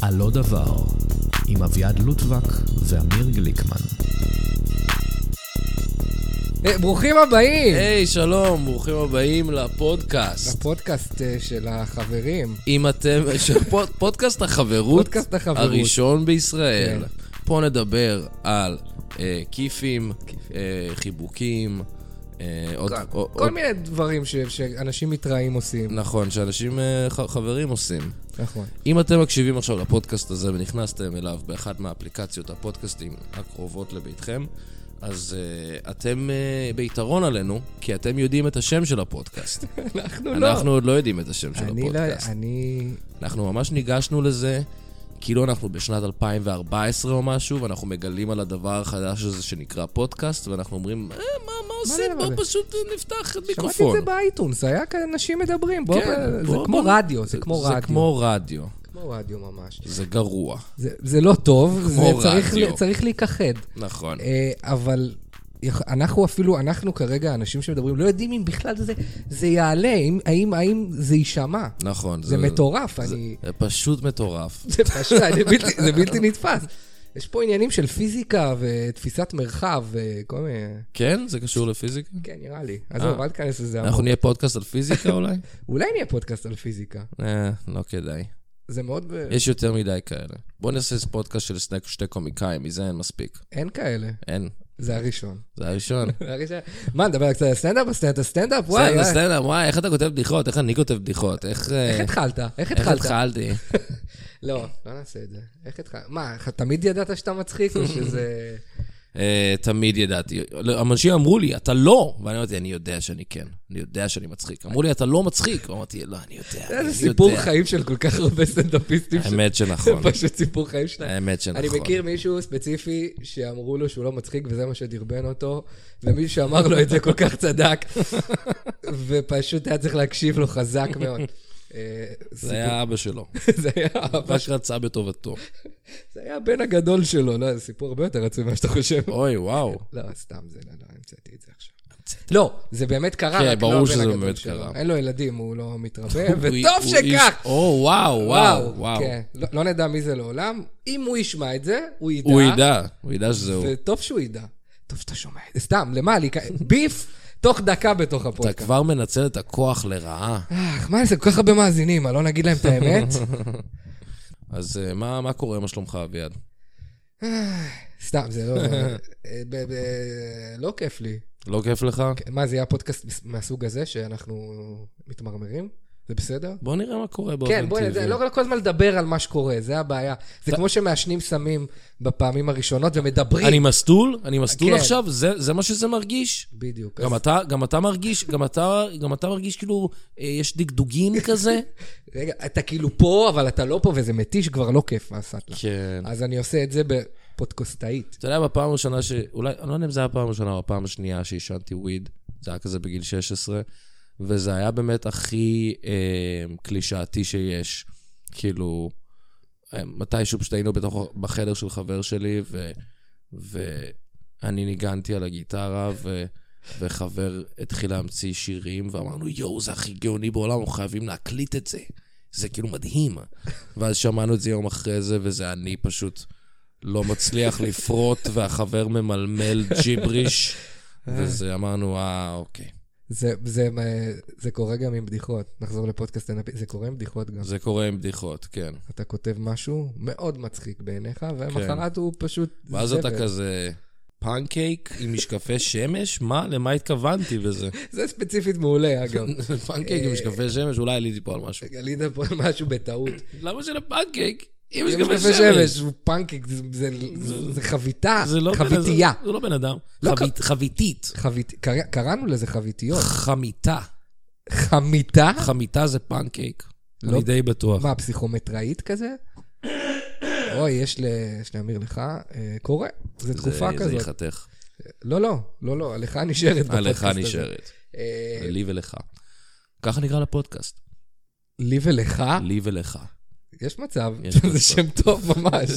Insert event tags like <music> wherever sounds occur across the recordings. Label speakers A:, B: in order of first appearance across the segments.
A: על לא דבר, עם אביעד לוטבק ואמיר גליקמן.
B: אה, ברוכים הבאים
C: היי, שלום, ברוכים הבאים לפודקאסט.
B: לפודקאסט אה, של החברים.
C: אם אתם... <laughs> של פוד- פודקאסט החברות
B: פודקאסט החברות.
C: הראשון בישראל.
B: כן.
C: פה נדבר על אה, כיפים, אה, חיבוקים, אה, עוד... עוד-
B: כן. כל
C: עוד-
B: מיני דברים ש- שאנשים מתראים עושים.
C: נכון, שאנשים, אה, ח- חברים עושים.
B: נכון.
C: אם אתם מקשיבים עכשיו לפודקאסט הזה ונכנסתם אליו באחת מהאפליקציות הפודקאסטים הקרובות לביתכם, אז uh, אתם uh, ביתרון עלינו, כי אתם יודעים את השם של הפודקאסט.
B: אנחנו <laughs> לא.
C: אנחנו עוד לא יודעים את השם של
B: אני לא...
C: הפודקאסט.
B: אני...
C: אנחנו ממש ניגשנו לזה, כאילו אנחנו בשנת 2014 או משהו, ואנחנו מגלים על הדבר החדש הזה שנקרא פודקאסט, ואנחנו אומרים, אה, מה, מה עושים?
B: הדבר הזה?"
C: בואו פשוט נפתח
B: שמעתי את
C: מיקרופון.
B: זה באייטונס, היה כאן אנשים מדברים. בוא,
C: כן,
B: זה
C: בוא-
B: כמו
C: בוא-
B: רדיו, זה כמו רדיו.
C: זה כמו רדיו.
B: כמו רדיו ממש.
C: זה גרוע.
B: זה- זה לא טוב,
C: כמו
B: זה צריך
C: רדיו.
B: ל- צריך להיכחד.
C: נכון.
B: אה, אבל יכ- אנחנו אפילו, אנחנו כרגע, אנשים שמדברים, לא יודעים אם בכלל זה, זה יעלה, אם- האם, האם זה יישמע.
C: נכון.
B: זה מטורף, אני...
C: זה פשוט מטורף.
B: זה פשוט, אני בלתי- זה בלתי נתפס. יש פה עניינים של פיזיקה ותפיסת מרחב וכל מיני...
C: כן? זה קשור לפיזיקה?
B: כן, נראה לי. עזוב,
C: אה.
B: אל תיכנס לזה
C: אנחנו
B: עמוק.
C: נהיה פודקאסט על פיזיקה אולי? <laughs>
B: אולי נהיה פודקאסט על פיזיקה.
C: אה, לא כדאי.
B: זה מאוד... ב-
C: יש יותר מדי כאלה. בוא נעשה איזה פודקאסט של שני- שתי קומיקאים, מזה אין מספיק.
B: אין כאלה.
C: אין.
B: זה הראשון.
C: זה הראשון.
B: זה הראשון. מה, נדבר קצת על סטנדאפ? סטנדאפ, סטנדאפ? וואי,
C: סטנדאפ,
B: וואי.
C: סטנדאפ, וואי, איך אתה כותב בדיחות? איך אני כותב בדיחות? איך... אה,
B: איך התחלת? איך
C: איך
B: התחלת?
C: התחלתי?
B: לא, לא נעשה את זה. איך התחלת? מה, ח- תמיד ידעת שאתה מצחיק או שזה...
C: אה, תמיד ידעתי. לא, אנשים אמרו לי, אתה לא! ואני אמרתי, אני יודע שאני כן. אני יודע שאני מצחיק. אמרו לי, אתה לא מצחיק. אמרתי, לא, אני יודע. אני
B: זה סיפור
C: יודע."
B: חיים של כל כך הרבה סטנדאפיסטים. ש-
C: האמת שנכון.
B: זה פשוט סיפור חיים שלהם.
C: האמת שנכון.
B: אני מכיר מישהו ספציפי שאמרו לו שהוא לא מצחיק וזה מה שדרבן אותו, ומישהו שאמר לו את זה כל כך
C: <laughs>
B: צדק, ופשוט היה צריך להקשיב לו חזק
C: <laughs>
B: מאוד. אה,
C: זה היה אבא שלו.
B: <laughs> זה היה אבא
C: רק
B: שלו,
C: רצה בטובתו.
B: זה היה הבן הגדול שלו, לא, זה סיפור הרבה יותר רצוי ממה שאתה חושב.
C: אוי, וואו.
B: לא, סתם זה, לא, לא, המצאתי את זה עכשיו. לא, זה באמת קרה,
C: כן,
B: רק לא
C: ברור שזה
B: הבן הגדול
C: באמת
B: שלו.
C: קרה.
B: אין לו ילדים, הוא לא מתרבה,
C: <laughs> הוא-
B: וטוב
C: הוא
B: שכך.
C: איש- או, וואו, וואו, וואו.
B: כן, לא, לא נדע מי זה לעולם. אם הוא ישמע את זה, הוא ידע.
C: הוא ידע, הוא ידע שזה הוא.
B: וטוב שהוא ידע. טוב שאתה שומע את זה. סתם, למה לי? <laughs> ביף תוך דקה בתוך
C: אתה
B: הפודקאסט.
C: כבר מנצל את הכוח לרעה.
B: אך, מה זה, כל כך הרבה מאזינים, מה, לא נגיד להם את האמת?
C: <laughs> אז אה, מה מה קורה, מה שלומך, אביעד?
B: סתם, זה לא... אה, ב- ב- לא כיף לי. כן,
C: לא כיף לך?
B: מה, זה יהיה הפודקאסט מהסוג הזה שאנחנו מתמרמרים? זה בסדר?
C: בוא נראה מה קורה באופן
B: כן, בואי,
C: טבעי.
B: זה- לא כל הזמן לדבר על מה שקורה, זה הבעיה. זה כמו שמעשנים סמים בפעמים הראשונות ומדברים.
C: אני מסטול? אני מסטול
B: כן.
C: עכשיו? זה- זה מה שזה מרגיש?
B: בדיוק.
C: גם
B: אז-
C: אתה, גם אתה מרגיש, גם אתה, גם אתה מרגיש כאילו אה, יש דגדוגים כזה?
B: רגע, אתה כאילו פה, אבל אתה לא פה, וזה מתיש, כבר לא כיף מה עשת לך.
C: כן.
B: אז אני עושה את זה בפודקוסטאית.
C: אתה יודע, בפעם הראשונה ש... אולי, אני לא יודע אם זה היה הפעם הראשונה או הפעם השנייה שעישנתי וויד, זה היה כזה בגיל 16, וזה היה באמת הכי אה, קלישאתי שיש. כאילו, אה, מתישהו פשוט היינו בתוך, בחדר של חבר שלי, ו, ואני ניגנתי על הגיטרה, ו, וחבר התחיל להמציא שירים, ואמרנו, יואו, זה הכי גאוני בעולם, אנחנו חייבים להקליט את זה. זה כאילו מדהים. ואז שמענו את זה יום אחרי זה, וזה אני פשוט... לא מצליח לפרוט, והחבר ממלמל ג'יבריש, וזה אמרנו, אה, אוקיי.
B: זה, זה, אה, זה קורה גם עם בדיחות. נחזור לפודקאסט סטנדאפי, זה קורה עם בדיחות גם.
C: זה קורה עם בדיחות, כן.
B: אתה כותב משהו מאוד מצחיק בעיניך, ומחרת הוא פשוט...
C: כן. ואז
B: זבל.
C: אתה כזה, פנקייק עם משקפי שמש? מה? למה התכוונתי בזה? <laughs>
B: זה ספציפית מעולה, אגב.
C: פנקייק עם משקפי שמש? אולי עליתי פה על משהו.
B: גלית פה על משהו בטעות.
C: למה שלפנקייק? עם
B: יש
C: משקפי
B: קפה
C: שמש.
B: שמש, הוא פנקק, זה- זה- זה- זה חביתה,
C: זה לא בן-
B: חביתייה.
C: זה לא בן אדם.
B: לא
C: חבית- חביתית.
B: חבית- קרא- קראנו לזה חביתיות.
C: חמיתה.
B: חמיתה?
C: חמיתה זה פנקייק.
B: לא.
C: אני די בטוח.
B: מה, פסיכומטראית כזה? אוי, יש ל- יש לאמיר לך, אה, קורה, זו
C: זה-
B: תקופה
C: זה
B: כזאת.
C: ייחתך.
B: לא, לא, לא, לא, עליך נשארת בפודקאסט הזה.
C: עליך נשארת.
B: אה,
C: לי ולך. ככה נקרא לפודקאסט.
B: לי ולך?
C: לי ולך.
B: יש מצב,
C: יש מצב.
B: זה שם טוב ממש.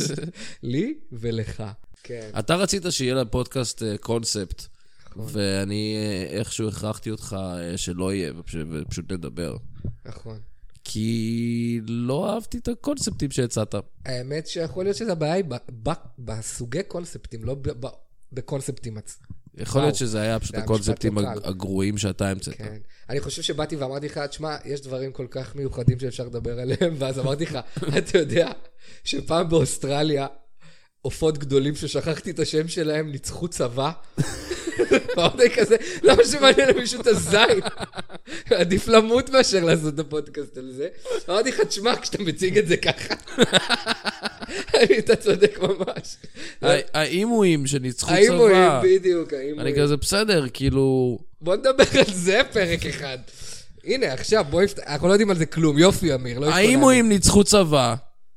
B: לי ולך. כן.
C: אתה רצית שיהיה לפודקאסט אה, קונספט,
B: נכון.
C: ואני אה, איכשהו הכרחתי אותך אה, שלא יהיה, ופש- ופשוט נדבר.
B: נכון.
C: כי לא אהבתי את הקונספטים שהצעת.
B: האמת שיכול להיות שזה הבעיה היא ב- ב- בסוגי קונספטים, לא ב- ב- בקונספטים עצמם.
C: יכול להיות
B: וואו.
C: שזה היה פשוט
B: זה היה
C: הקונספטים
B: משפט לא
C: הג-
B: קל.
C: הגרועים שאתה המצאת.
B: כן. אני חושב שבאתי ואמרתי לך, תשמע, יש דברים כל כך מיוחדים שאפשר לדבר עליהם, <laughs> ואז אמרתי לך, אתה יודע שפעם באוסטרליה, עופות גדולים ששכחתי את השם שלהם ניצחו צבא? <laughs> ואמרתי כזה, למה שמעניין למישהו את הזין? <laughs> עדיף למות מאשר לעשות את הפודקאסט על זה. אמרתי לך, תשמע, כשאתה מציג את זה ככה, <laughs> אני- אתה צודק ממש.
C: ה- האימויים שניצחו
B: האימויים,
C: צבא.
B: בדיוק, לא
C: אני
B: האימויים.
C: כזה בסדר, כאילו...
B: בוא נדבר על זה פרק אחד. הנה, עכשיו, בוא נפתח, אנחנו לא יודעים על זה כלום. יופי, אמיר, לא התכוננו.
C: האימויים ניצחו צבא,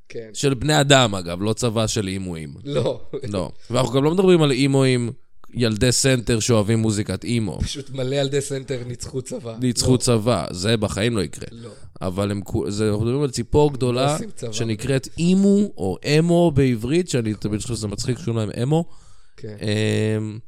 B: כן.
C: של בני אדם אגב, לא צבא של אימויים.
B: לא,
C: לא. ואנחנו גם לא מדברים על אימויים, ילדי סנטר שאוהבים מוזיקת אימו.
B: <laughs> פשוט מלא ילדי סנטר ניצחו צבא.
C: ניצחו צבא, זה בחיים לא יקרה.
B: לא.
C: אבל הם, כו- זה, אנחנו מדברים על ציפור גדולה,
B: עושים צבא.
C: שנקראת אימו, או אמו בעברית, שאני תמיד חושב שזה מצחיק, שקוראים להם אמו.
B: כן.
C: אמ,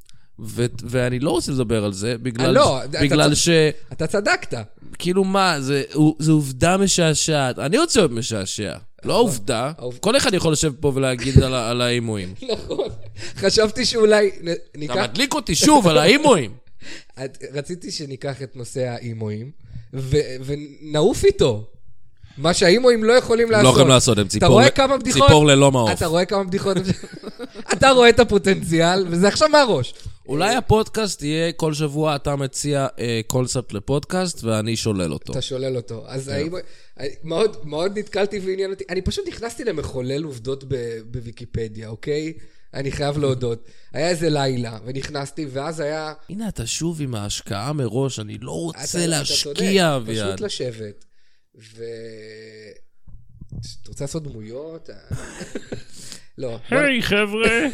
C: ו- ואני לא רוצה לדבר על זה,
B: אה,
C: בגלל,
B: לא, אתה
C: בגלל
B: צודק.
C: ש...
B: אתה צדקת. <laughs>
C: כאילו מה, זה, זה עובדה משעשעת. אני רוצה להיות משעשע,
B: נכון.
C: לא עובדה.
B: העובדה.
C: כל אחד יכול לשבת פה ולהגיד על ה- על האימויים.
B: נכון. חשבתי שאולי נ-
C: אתה
B: ניקח...
C: מדליק אותי שוב על האימויים.
B: את- רציתי שניקח את נושא האימויים, ו- ונעוף איתו. מה שהאימויים לא יכולים לעשות.
C: לא יכולים לעשות, הם ציפור-
B: אתה רואה כמה בדיחות...
C: ציפור ללא מעוף.
B: אתה רואה כמה בדיחות... <laughs> אתה רואה את הפוטנציאל, וזה עכשיו מהראש.
C: אולי הפודקאסט יהיה כל שבוע אתה מציע אה, קונספט לפודקאסט ואני שולל אותו.
B: אתה שולל אותו. אז
D: כן.
B: האם... מאוד, מאוד נתקלתי ועניין אותי. אני פשוט נכנסתי למחולל עובדות ב, בוויקיפדיה, אוקיי? אני חייב להודות. היה איזה לילה, ונכנסתי, ואז היה...
C: הנה, אתה שוב עם ההשקעה מראש, אני לא
B: אתה-
C: רוצה
B: אתה
C: להשקיע,
B: צודק,
C: אביעד.
B: פשוט לשבת. ו... את רוצה לעשות דמויות? <laughs> לא.
D: היי חבר'ה,
B: <laughs>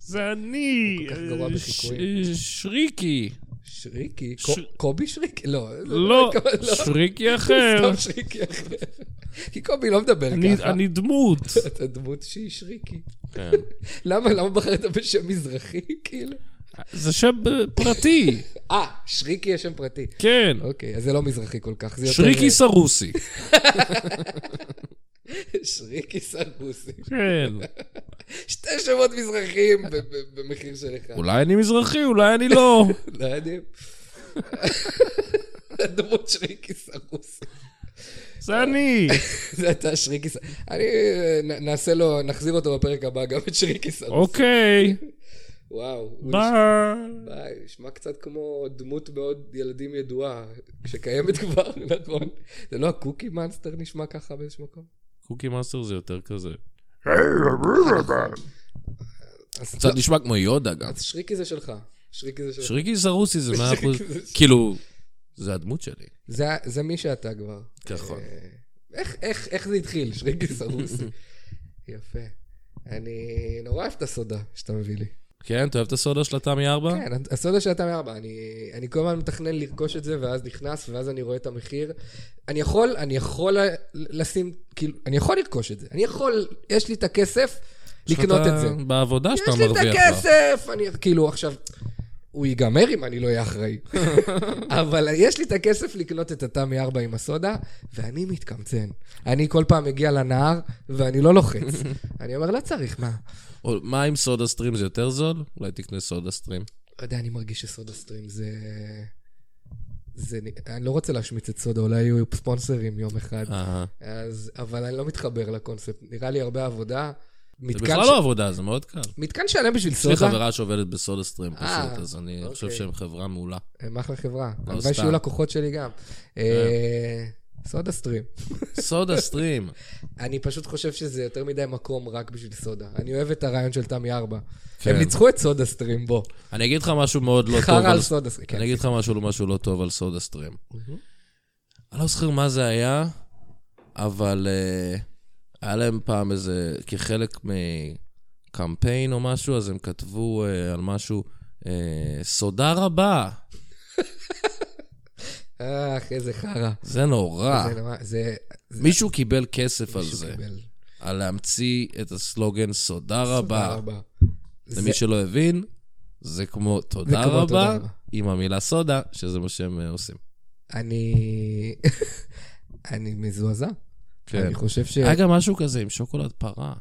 D: זה אני,
B: כל כך גרוע
D: אה,
B: בחיקויים.
D: ש-
C: שריקי.
B: שריקי? קו- קובי שריקי? לא. זה-
D: לא,
B: לא.
D: שריקי אחר,
B: סתם שריקי אחר. <laughs> כי קובי לא מדבר
D: אני-
B: ככה.
D: אני דמות.
B: אתה דמות שהיא שריקי.
C: כן.
B: למה? למה בחרת בשם מזרחי? כאילו...
D: זה שם אה, פרטי,
B: אה, שריקי יש שם פרטי.
D: כן.
B: אוקיי, אז זה לא מזרחי כל כך, זה יותר...
C: שריקי סרוסי.
B: <laughs> שריקי סרגוסי.
D: כן.
B: שתי שמות מזרחיים ב- ב- במחיר של אחד.
C: אולי אני מזרחי, אולי אני
B: <laughs>
C: לא.
B: לא
D: <laughs>
B: יודעים. הדמות שריקי סרגוסי.
D: זה אני.
B: זה אתה שריקי סרגוסי. אני... אה, נ- נעשה לו, נחזיר אותו בפרק הבא גם את שריקי סרגוסי.
D: אוקיי,
B: וואו. הוא
D: ביי.
B: נשמע- ביי. נשמע קצת כמו דמות מאוד ילדים ידועה, שקיימת כבר, <laughs> נכון? זה לא הקוקי מאנסטר נשמע ככה באיזשהו מקום?
C: קוקי מאסטר זה יותר כזה.
B: אז
C: קצת נשמע כמו יודה גם.
B: אז שריקי זה שלך. שריקי זה שלך.
C: שריקי סרוסי זה 100%.
B: שריקי <laughs> זה-
C: כאילו, זה הדמות שלי.
B: זה, זה מי שאתה כבר.
C: נכון.
B: אה, איך, איך, איך זה התחיל, שריקי סרוסי? יפה. אני נורא אוהב את הסודה שאתה מביא לי.
C: כן, אתה אוהב את הסודה של התמי 4?
B: כן, הסודה שאתה מארבע. אני, אני כל הזמן מתכנן לרכוש את זה, ואז נכנס, ואז אני רואה את המחיר. אני יכול, אני יכול ל- לשים, כאילו, אני יכול לרכוש את זה. אני יכול, יש לי את הכסף לקנות את זה.
C: בעבודה שאתה
B: יש לי את
C: מרוויח לה.
B: הכסף! אני, כאילו, עכשיו, הוא ייגמר אם אני לא אהיה
C: <laughs>
B: אחראי. אבל יש לי את הכסף לקנות את התמי 4 עם הסודה, ואני מתקמצן. אני כל פעם מגיע לנהר, ואני לא לוחץ.
C: <laughs>
B: אני אומר, לא צריך, מה?
C: או- מה עם סודה סטרים זה יותר זול? אולי תקנה סודה סטרים.
B: לא יודע, אני מרגיש שסודה סטרים זה... זה... נ- אני לא רוצה להשמיץ את סודה, אולי יהיו ספונסרים יום אחד.
C: אהה.
B: אז... אבל אני לא מתחבר לקונספט. נראה לי הרבה עבודה.
C: זה
B: מתקן
C: בכלל
B: ש-
C: לא עבודה, זה מאוד קל.
B: מתקן שלם בשביל
C: יש לי
B: סודה.
C: חברה שעובדת בסודה סטרים
B: אה,
C: פשוט, אז אני
B: אוקיי.
C: חושב שהם חברה מעולה.
B: אה, הם אחלה חברה. הלוואי
C: לא סתם.
B: שיהיו לקוחות שלי גם. אה, סודה סטרים.
C: סודה סטרים.
B: אני פשוט חושב שזה יותר מדי מקום רק בשביל סודה. אני אוהב את הרעיון של תמי 4.
C: כן.
B: הם ניצחו את סודה סטרים, בוא.
C: אני אגיד לך משהו מאוד לא טוב
B: חרא
C: על...
B: על סודה סטרים.
C: אני אגיד לך משהו משהו לא טוב על סודה סטרים. אני לא זוכר מה זה היה, אבל אה, היה להם פעם איזה, כחלק מקמפיין או משהו, אז הם כתבו אה, על משהו, אה, סודה רבה.
B: אך, כן. איזה חרא.
C: זה נורא.
B: זה נורא- זה... זה-
C: מישהו קיבל כסף אה. על זה,
B: קיבל.
C: על להמציא את הסלוגן סודה רבה.
B: רבה. זה-
C: למי שלא הבין, זה כמו תודה
B: כמו תודה
C: רבה
B: רבה.
C: עם המילה סודה, שזה מה שהם אה, עושים.
B: אני... <laughs> אני מזועזע.
C: כן.
B: אני חושב ש...
C: היה גם משהו כזה עם שוקולד פרה.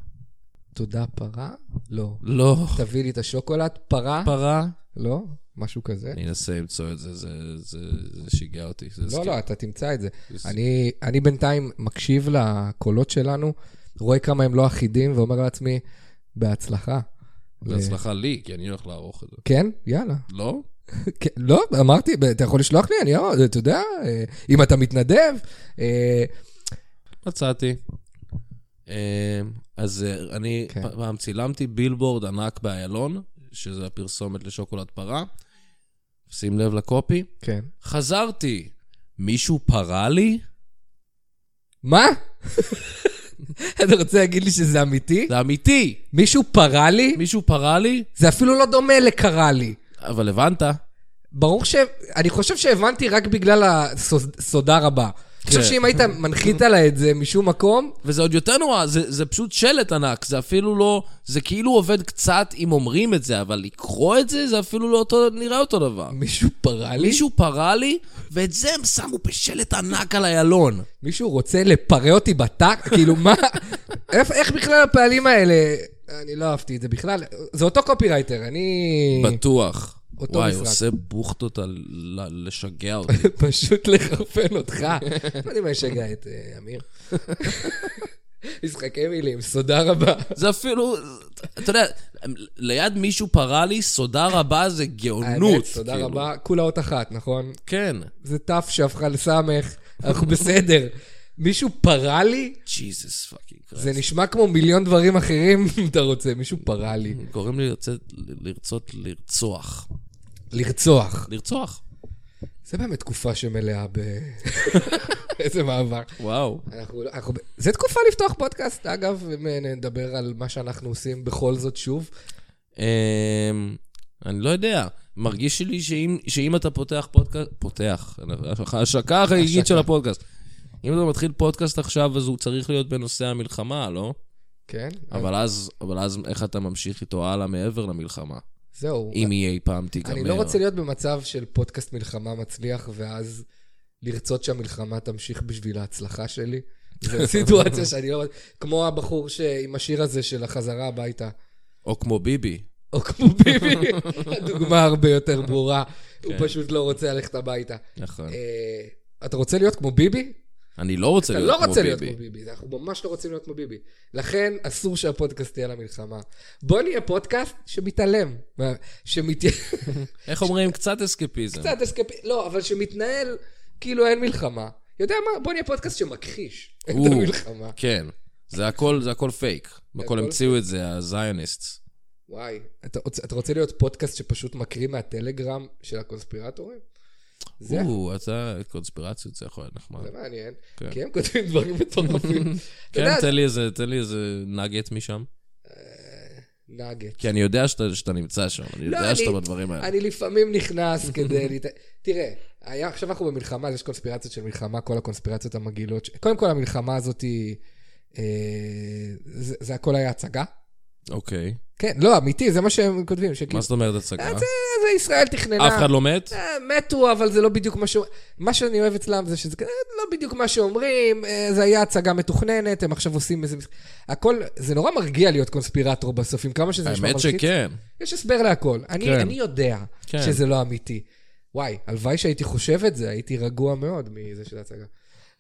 B: תודה פרה? לא.
C: לא.
B: תביא לי את השוקולד, פרה?
C: פרה?
B: לא? משהו כזה?
C: אני אנסה למצוא את זה, זה- זה זה שיגע אותי. זה
B: לא,
C: סקי-
B: לא, אתה תמצא את זה.
C: זה-
B: אני, אני בינתיים מקשיב לקולות שלנו, רואה כמה הם לא אחידים, ואומר לעצמי, בהצלחה.
C: בהצלחה לי, כי אני הולך לערוך את זה.
B: כן? יאללה.
C: לא?
B: כן, לא, אמרתי, אתה יכול לשלוח לי, אני, אה, אתה יודע, אה, אם אתה מתנדב, אה,
C: מצאתי. אמ, אז אה, אני
B: כן.
C: פ- פעם צילמתי בילבורד ענק באיילון, שזה הפרסומת לשוקולד פרה. שים לב לקופי.
B: כן.
C: חזרתי, מישהו פרה לי?
B: מה? <laughs> אתה רוצה להגיד לי שזה אמיתי?
C: זה אמיתי!
B: מישהו פרה לי?
C: מישהו פרה לי?
B: זה אפילו לא דומה לקרה לי.
C: אבל הבנת.
B: ברור ש... אני חושב שהבנתי רק בגלל הסודה רבה. אני חושב
C: כן.
B: שאם היית מנחית עליי את זה משום מקום,
C: וזה עוד יותר נורא, זה, זה פשוט שלט ענק, זה אפילו לא... זה כאילו עובד קצת אם אומרים את זה, אבל לקרוא את זה, זה אפילו לא אותו, נראה אותו דבר.
B: מישהו פרה לי?
C: מישהו פרה לי, ואת זה הם שמו בשלט ענק על איילון.
B: מישהו רוצה לפרע אותי בתק? כאילו, מה? איך, איך בכלל הפעלים האלה? אני לא אהבתי את זה בכלל. זה אותו קופירייטר, אני...
C: בטוח.
B: אותו
C: וואי,
B: משרד.
C: עושה בוכטות על ל- לשגע אותי. <laughs>
B: פשוט לחרפן אותך. לא יודע מה ישגע את אה, אמיר. משחקי מילים, סודה רבה.
C: זה אפילו, אתה יודע, ליד מישהו פרה לי, סודה רבה זה גאונות.
B: האמת, תודה
C: כאילו.
B: רבה. כולה אות אחת, נכון?
C: כן.
B: זה תף שהפכה לסמך, אנחנו בסדר. מישהו פרה לי?
C: ג'יזוס פאקינג
B: זה נשמע כמו מיליון דברים אחרים, אם אתה רוצה. מישהו פרה לי.
C: גורם לי לרצות, לרצות לרצוח.
B: לרצוח.
C: לרצוח?
B: זה באמת תקופה שמלאה ב... <laughs> איזה מעבר.
C: וואו.
B: אנחנו, לא- אנחנו, ב- זה תקופה לפתוח פודקאסט, אגב, אם אה, נדבר על מה שאנחנו עושים בכל זאת שוב.
C: אמ, אני לא יודע. מרגיש לי שאם, שאם אתה פותח פודקאסט, פותח, ההשקה החגיגית של הפודקאסט. אם אתה מתחיל פודקאסט עכשיו, אז הוא צריך להיות בנושא המלחמה, לא?
B: כן?
C: אבל אז, אבל אז איך אתה ממשיך איתו הלאה מעבר למלחמה?
B: זהו.
C: אם היא אי פעם תיגמר.
B: אני לא רוצה להיות במצב של פודקאסט מלחמה מצליח, ואז לרצות שהמלחמה תמשיך בשביל ההצלחה שלי.
C: <laughs>
B: זו סיטואציה שאני לא... כמו הבחור ש... עם השיר הזה של החזרה הביתה.
C: או כמו ביבי.
B: או כמו
C: <laughs>
B: ביבי, הדוגמה הרבה יותר ברורה. הוא
C: כן.
B: פשוט לא רוצה ללכת הביתה.
C: נכון.
B: אה, אתה רוצה להיות כמו ביבי?
C: אני לא רוצה
B: אתה
C: להיות
B: לא
C: כמו
B: רוצה להיות
C: ביבי.
B: כמו ביבי, אנחנו ממש לא רוצים להיות כמו ביבי. לכן, אסור שהפודקאסט יהיה למלחמה. בוא נהיה פודקאסט שמתעלם. מה- שמת...
C: <laughs> איך אומרים? קצת אסקפיזם.
B: קצת אסקפ... לא, אבל שמתנהל כאילו אין מלחמה. יודע מה? בוא נהיה פודקאסט שמכחיש את
C: או.
B: המלחמה.
C: כן. זה הכל, זה הכל פייק. הכל
B: הכל
C: המציאו את זה, הזיוניסטס.
B: וואי, אתה רוצה- אתה רוצה להיות פודקאסט שפשוט מקריא מהטלגרם של הקונספירטורים? זה
C: או, אתה, קונספירציות, זה יכול להיות נחמד.
B: זה מעניין,
C: כן.
B: כי הם כותבים דברים
C: <laughs>
B: מטורפים. אתה
C: כן,
B: יודע,
C: תן לי איזה, תן לי איזה נאגט משם.
B: אה, נאגט.
C: כי אני יודע שאתה, שאתה נמצא שם, אני
B: לא,
C: יודע
B: אני-
C: שאתה בדברים האלה.
B: אני לפעמים נכנס כדי... <laughs> להת... תראה, היה, עכשיו אנחנו במלחמה, אז יש קונספירציות של מלחמה, כל הקונספירציות המגעילות. ש... קודם כל, המלחמה הזאת היא... אה, זה, זה הכל היה הצגה?
C: אוקיי.
B: כן, לא, אמיתי, זה מה שהם כותבים.
C: מה
B: שכאילו,
C: זאת אומרת הצגה?
B: אה, זה, זה ישראל תכננה.
C: אף אחד לא מת?
B: אה, מתו, אבל זה לא בדיוק מה ש... מה שאני אוהב אצלם זה שזה כזה, לא בדיוק מה שאומרים, אה, זה היה הצגה מתוכננת, הם עכשיו עושים איזה... מש- הכל, זה נורא מרגיע להיות קונספירטור בסוף, עם כמה שזה נשמע
C: האמת
B: מלחיץ.
C: שכן.
B: יש הסבר להכל. אני,
C: כן.
B: אני יודע
C: כן.
B: שזה לא אמיתי. וואי, הלוואי שהייתי חושב את זה, הייתי רגוע מאוד מזה של ההצגה.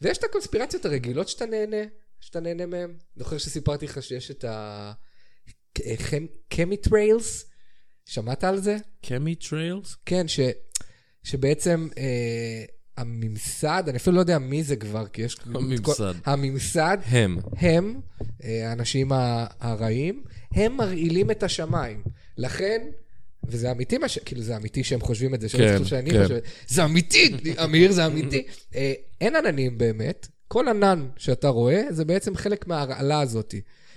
B: ויש את הקונספירציות הרגילות שאתה נהנה, שאתה נהנה מהן. זוכר שסיפרתי לך שיש את ה... קמיטריילס? שמעת על זה?
C: קמי טריילס?
B: כן, ש... שבעצם אה, הממסד, אני אפילו לא יודע מי זה כבר, כי יש... את כל-
C: הממסד.
B: הממסד,
C: הם.
B: הם, אה, האנשים ה- הרעים, הם מרעילים את השמיים. לכן, וזה אמיתי מה ש... כאילו, זה אמיתי שהם חושבים את זה, שלא
C: כן,
B: חושבים שאני
C: כן.
B: חושב... זה אמיתי, אמיר, זה אמיתי. אה, אין עננים באמת. כל ענן שאתה רואה, זה בעצם חלק מההרעלה הזאת.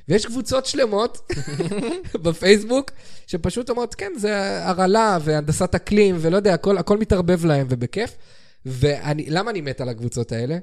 B: ויש קבוצות שלמות <laughs> בפייסבוק, שפשוט אומרות, כן, זה הרעלה והנדסת אקלים, ולא יודע, הכל, הכל מתערבב להם, ובכיף. ולמה אני מת על הקבוצות האלה?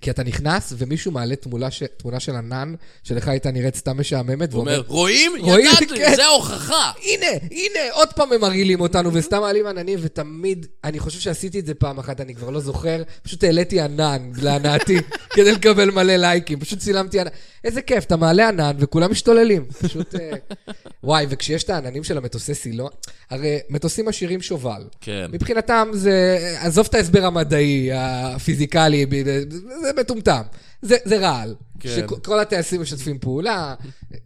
B: כי אתה נכנס ומישהו מעלה תמונה, ש... תמונה של ענן, שלך הייתה נראית סתם משעממת,
C: הוא אומר, רואים?
B: רואים, כן."
C: ידעתי, זה ההוכחה.
B: הנה, הנה, עוד פעם הם מרעילים אותנו, וסתם מעלים עננים, ותמיד, אני חושב שעשיתי את זה פעם אחת, אני כבר לא זוכר, פשוט העליתי ענן
C: <laughs>
B: להנאתי, כדי לקבל מלא לייקים, פשוט צילמתי ענן. איזה כיף, אתה מעלה ענן וכולם משתוללים, פשוט...
C: <laughs>
B: אה, וואי, וכשיש את העננים של המטוסי סילון, הרי מטוסים עשירים שובל.
C: כן.
B: מבחינתם זה, עזוב את ההסבר המדעי, הפיזיקלי, ב- זה זה מטומטם. זה, זה רעל. כן.
C: כן.
B: שכל הטייסים משתפים פעולה,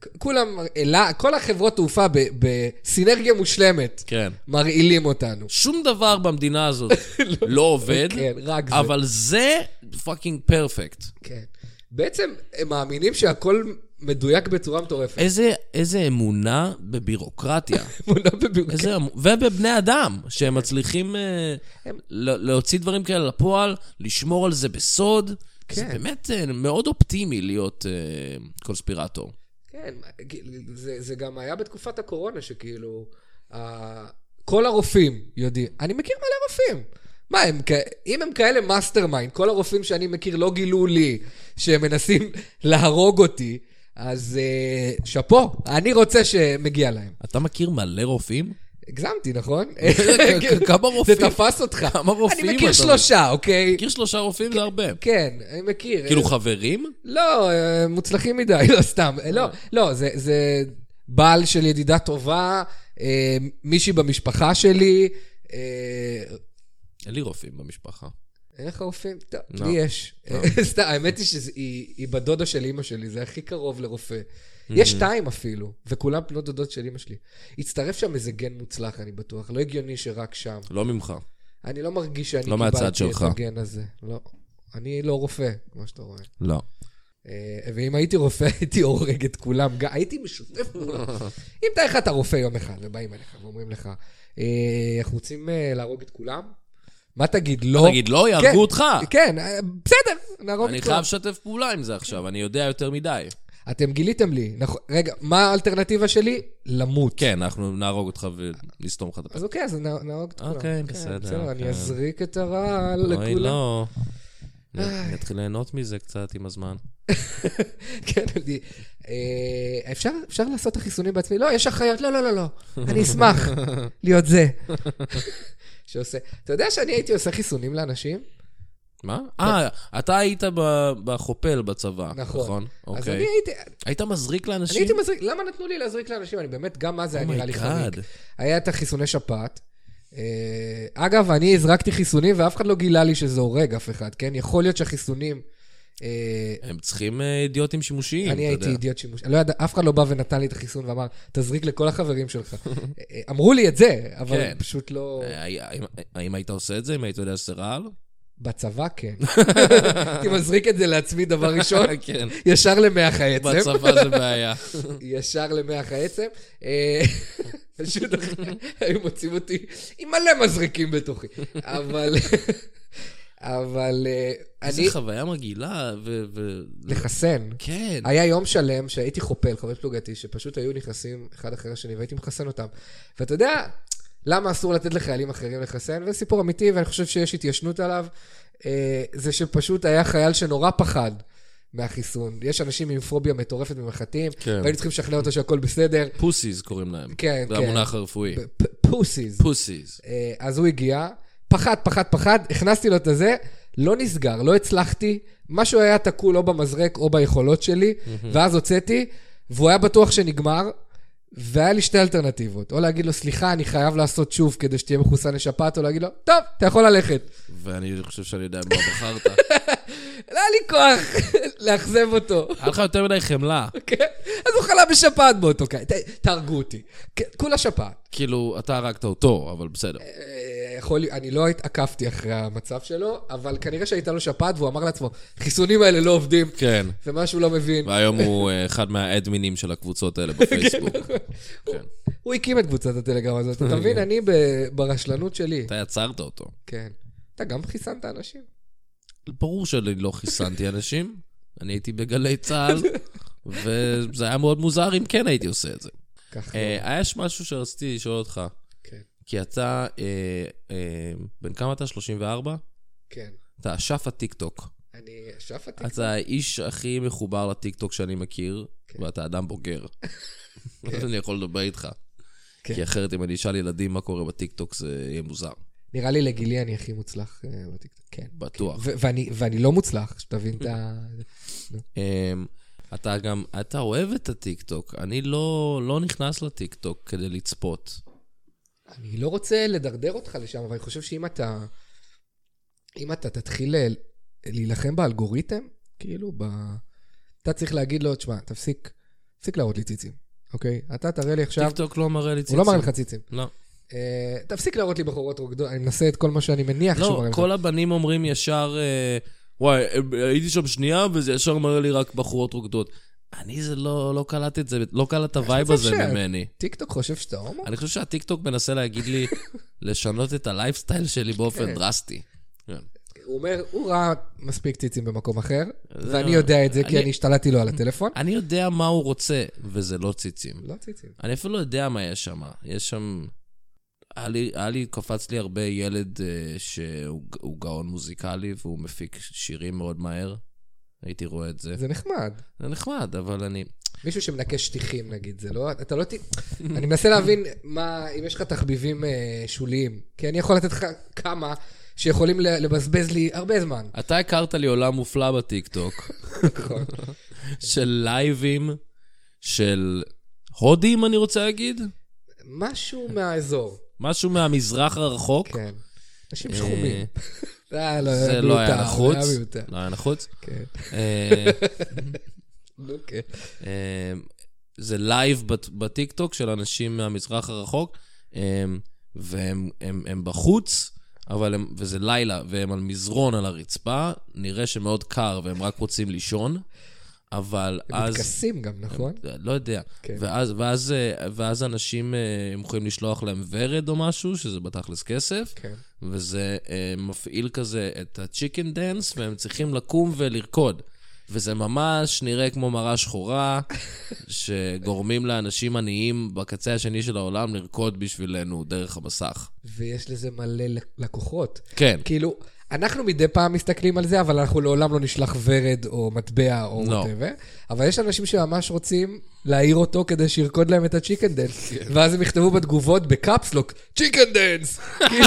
B: כ- כולם, אלה, כל החברות תעופה ב- בסינרגיה מושלמת,
C: כן.
B: מרעילים אותנו.
C: שום דבר במדינה
B: <laughs>
C: הזאת לא עובד,
B: כן, רק זה.
C: אבל זה פאקינג פרפקט.
B: כן. בעצם הם מאמינים שהכל מדויק בצורה מטורפת.
C: איזה, איזה אמונה בבירוקרטיה.
B: <laughs> אמונה בבירוקרטיה.
C: איזה, אמ- ובבני אדם, שהם מצליחים אה, לה- להוציא דברים כאלה לפועל, לשמור על זה בסוד. זה
B: כן.
C: באמת אה, מאוד אופטימי להיות אה, קונספירטור.
B: כן, זה, זה גם היה בתקופת הקורונה, שכאילו, uh, כל הרופאים יודעים. אני מכיר מלא רופאים. מה, הם, כ- אם הם כאלה מאסטר מיינד, כל הרופאים שאני מכיר לא גילו לי שהם מנסים <laughs> להרוג אותי, אז uh, שאפו, אני רוצה שמגיע להם.
C: אתה מכיר מלא רופאים?
B: הגזמתי,
C: <laughs>
B: נכון?
C: כן, כמה רופאים?
B: זה תפס אותך.
C: כמה רופאים
B: אני מכיר
C: אתה-
B: שלושה, אוקיי?
C: מכיר שלושה רופאים? זה הרבה.
B: כן, אני מכיר.
C: כאילו חברים?
B: לא, אה, מוצלחים מדי, <laughs> לא סתם. אה, לא, לא, זה, זה בעל של ידידה טובה, אה, מישהי במשפחה שלי. אה,
C: אין לי רופאים במשפחה.
B: אין לך רופאים? טוב,
C: לא.
B: לי יש. <laughs> סתם, האמת היא שהיא בדודה של אימא שלי, זה הכי קרוב לרופא.
C: Mm-hmm.
B: יש שתיים אפילו, וכולם בנות דודות של אימא שלי. הצטרף שם איזה גן מוצלח, אני בטוח. לא הגיוני שרק שם.
C: לא ממך.
B: אני לא מרגיש שאני
C: לא מהצד
B: קיבלתי את
C: שלך.
B: הגן הזה. לא. אני לא רופא, כמו שאתה רואה.
C: לא.
B: אה, ואם הייתי רופא, <laughs> הייתי הורג את כולם. גם- הייתי משותף כולם. אם תאר לך, אתה רופא יום אחד, ובאים אליך ואומרים לך, אה, אנחנו רוצים אה, להרוג את כולם? מה תגיד, לא?
C: תגיד, לא,
B: כן,
C: יהרגו אותך.
B: כן, אה, בסדר, נהרוג
C: אני
B: את כולם.
C: חייב לשתף פעולה עם זה עכשיו, אני יודע יותר מדי.
B: אתם גיליתם לי, נכון? רגע, מה האלטרנטיבה שלי? למות.
C: כן, אנחנו נהרוג אותך ונסתום לך את הפה.
B: אז אוקיי, אז נה- נהרוג את כולם.
C: אוקיי,
B: כן,
C: בסדר,
B: אני
C: כן.
B: אזריק את הרעל
C: אוי,
B: לכולם.
C: לא. אני אתחיל ליהנות מזה קצת עם הזמן.
B: כן, אני... אה, אפשר, אפשר לעשות את החיסונים בעצמי? לא, יש אחיות, לא, לא, לא, לא. אני
C: <laughs>
B: אשמח להיות זה שעושה. אתה יודע שאני הייתי עושה חיסונים לאנשים?
C: מה? אה, אתה היית ב- בחופל בצבא,
B: כן. נכון.
C: נכון?
B: אז אני
C: אוקיי.
B: הייתי,
C: היית מזריק
B: אני
C: לאנשים?
B: הייתי מזריק, למה נתנו לי להזריק לאנשים? אני באמת, גם אז זה היה
C: Oh my
B: נראה לי חריג.
C: God.
B: היה את החיסוני שפעת. אה, אגב, אני הזרקתי חיסונים ואף אחד לא גילה לי שזה הורג אף אחד, כן? יכול להיות שהחיסונים... אה,
C: הם צריכים אה, אידיוטים שימושיים, אתה
B: אני
C: יודע.
B: הייתי אידיוט שימוש. לא ידע, אף אחד לא בא ונתן לי את החיסון ואמר, תזריק לכל החברים שלך. <laughs> אה, אמרו לי את זה, אבל
C: כן.
B: פשוט לא...
C: אה, היה- האם- האם היית עושה את זה? אם היית יודע שזה רעל?
B: בצבא
C: <laughs>
B: כן. <laughs> הייתי מזריק את זה לעצמי דבר ראשון,
C: כן.
B: ישר למח העצם.
C: בצבא זה
B: <laughs>
C: בעיה.
B: ישר למח העצם. אה, <laughs> פשוט <laughs> אחרי- היו מוצאים אותי עם מלא מזריקים בתוכי. אבל... <laughs> אבל אה,
C: איזה
B: אני...
C: חוויה מגעילה, ו... ו-
B: לחסן.
C: כן.
B: היה יום שלם שהייתי חופל, חבר פלוגתי, שפשוט היו נכנסים אחד אחרי השני והייתי מחסן אותם. ואתה יודע למה אסור לתת לחיילים אחרים לחסן? וזה סיפור אמיתי ואני חושב שיש התיישנות עליו. אה, זה שפשוט היה חייל שנורא פחד מהחיסון. יש אנשים עם פוביה מטורפת ממחטים,
C: כן.
B: והיינו צריכים לשכנע אותו שהכל בסדר.
C: פוסיז קוראים להם.
B: כן,
C: זה
B: כן.
C: המונח הרפואי.
B: פ- פ- פוסיס.
C: פוסיז.
B: אה, אז הוא הגיע, פחד, פחד, פחד, הכנסתי לו את הזה, לא נסגר, לא הצלחתי, משהו היה תקול או במזרק או ביכולות שלי, ואז הוצאתי, והוא היה בטוח שנגמר, והיה לי שתי אלטרנטיבות, או להגיד לו, סליחה, אני חייב לעשות שוב כדי שתהיה מחוסן לשפעת, או להגיד לו, טוב, אתה יכול ללכת.
C: ואני חושב שאני יודע מה בחרת.
B: לא היה לי כוח <laughs> לאכזב אותו.
C: היה לך יותר מדי חמלה.
B: כן? אז הוא חלה בשפעת באותו קיץ, "ת- תהרגו אותי. כן, כולה שפעת.
C: כאילו, אתה הרגת אותו, אבל בסדר.
B: אה, יכול, להיות- אני לא התעקפתי אחרי המצב שלו, אבל כנראה שהייתה לו שפעת והוא אמר לעצמו, חיסונים האלה לא עובדים,
C: כן.
B: ומה שהוא לא מבין.
C: והיום הוא אה, אחד מהאדמינים של הקבוצות האלה בפייסבוק. כן.
B: הוא הקים את קבוצת הטלגרם הזאת,
C: <laughs>
B: אתה מבין? אני ב- ברשלנות שלי.
C: אתה יצרת אותו.
B: כן. אתה גם חיסנת אנשים.
C: ברור שאני לא חיסנתי אנשים, אני הייתי בגלי צה"ל, וזה היה מאוד מוזר אם כן הייתי עושה את זה.
B: ככה.
C: אה, יש משהו שרציתי לשאול אותך,
B: לא. כן.
C: כי אתה, אה, אה, בן כמה אתה? 34?
B: כן.
C: אתה אשף הטיקטוק.
B: אני אשף עתיק.
C: אתה האיש הכי מחובר לטיקטוק שאני מכיר,
B: כן.
C: ואתה
B: <laughs>
C: אדם בוגר. אז אני יכול לדבר איתך.
B: כן.
C: כי אחרת אם אני אשאל ילדים מה קורה בטיקטוק זה יהיה מוזר,
B: נראה לי לגילי אני הכי מוצלח אה, בטיקטוק. כן.
C: בטוח.
B: ו- ואני- ואני לא מוצלח, שתבין
C: <laughs>
B: את ה... כן.
C: אמ, אתה גם, אתה אוהב את הטיקטוק. אני לא לא נכנס לטיקטוק כדי לצפות.
B: אני לא רוצה לדרדר אותך לשם, אבל אני חושב שאם אתה... אם אתה תתחיל ל- להילחם באלגוריתם, כאילו, ב... אתה צריך להגיד לו, תשמע, תפסיק, תפסיק להראות לי ציצים, אוקיי? אתה תראה לי עכשיו...
C: טיקטוק לא מראה לי ציצים.
B: הוא לא מראה לך ציצים.
C: לא.
B: אה, תפסיק להראות לי בחורות רוקדות, אני מנסה את כל מה שאני מניח שהוא
C: לא,
B: מראה לך.
C: כל הבנים אומרים ישר, אה, וואי, אה, הייתי שם שנייה וזה ישר מראה לי רק בחורות רוקדות. אני זה לא, לא קלט את זה, לא קלט את הווייב
B: זה
C: הזה
B: אפשר?
C: ממני.
B: טיקטוק חושב שאתה הומו?
C: אני חושב שהטיקטוק מנסה להגיד לי לשנות את הלייפסטייל שלי באופן דרסטי. כן.
B: הוא אומר, הוא ראה מספיק ציצים במקום אחר,
C: זה- לא,
B: ואני יודע את זה כי
C: אני-
B: אני השתלטתי
C: <clears throat>
B: לו על הטלפון.
C: אני יודע מה הוא רוצה, וזה לא ציצים.
B: לא ציצים.
C: אני אפילו לא יודע מה יש שם. יש שם... היה לי, היה לי, קפץ לי הרבה ילד אה, שהוא הוא גאון מוזיקלי והוא מפיק שירים מאוד מהר. הייתי רואה את זה.
B: זה נחמד.
C: זה נחמד, אבל אני...
B: מישהו שמנקה שטיחים, נגיד, זה לא... אתה לא ת... אני מנסה להבין מה... אם יש לך תחביבים אה, שוליים, כי אני יכול לתת לך כמה שיכולים ל- לבזבז לי הרבה זמן.
C: אתה הכרת לי עולם מופלא בטיקטוק,
B: נכון.
C: של לייבים, של הודים, אני רוצה להגיד,
B: משהו מהאזור,
C: משהו מהמזרח הרחוק.
B: כן. אנשים
C: אה,
B: שחומים. אה,
C: זה לא היה
B: מיותר,
C: נחוץ.
B: זה היה מיותר.
C: לא היה
B: <laughs>
C: נחוץ.
B: כן.
C: אה,
B: נו, כן.
C: אה, זה לייב בט- בטיקטוק של אנשים מהמזרח הרחוק, אה, והם הם- הם בחוץ, אבל הם, וזה לילה, והם על מזרון על הרצפה, נראה שמאוד קר והם רק רוצים לישון, אבל
B: הם
C: אז...
B: מתכסים גם, נכון?
C: לא יודע.
B: כן.
C: ואז, ואז, אה, ואז אנשים אה, הם יכולים לשלוח להם ורד או משהו, שזה בתכלס כסף,
B: כן.
C: וזה אה, מפעיל כזה את הצ'יקן דנס, והם צריכים לקום ולרקוד. וזה ממש נראה כמו מראה <laughs> שחורה, שגורמים לאנשים עניים בקצה השני של העולם לרקוד בשבילנו דרך המסך.
B: ויש לזה מלא לקוחות.
C: כן.
B: כאילו, אנחנו מדי פעם מסתכלים על זה, אבל אנחנו לעולם לא נשלח ורד או מטבע או
C: לא.
B: מוטבע. אבל יש אנשים שממש רוצים להעיר אותו כדי שירקוד להם את הצ'יקן דנס.
C: כן.
B: ואז הם יכתבו בתגובות בקפסלוק, צ'יקן דנס! <laughs> כאילו,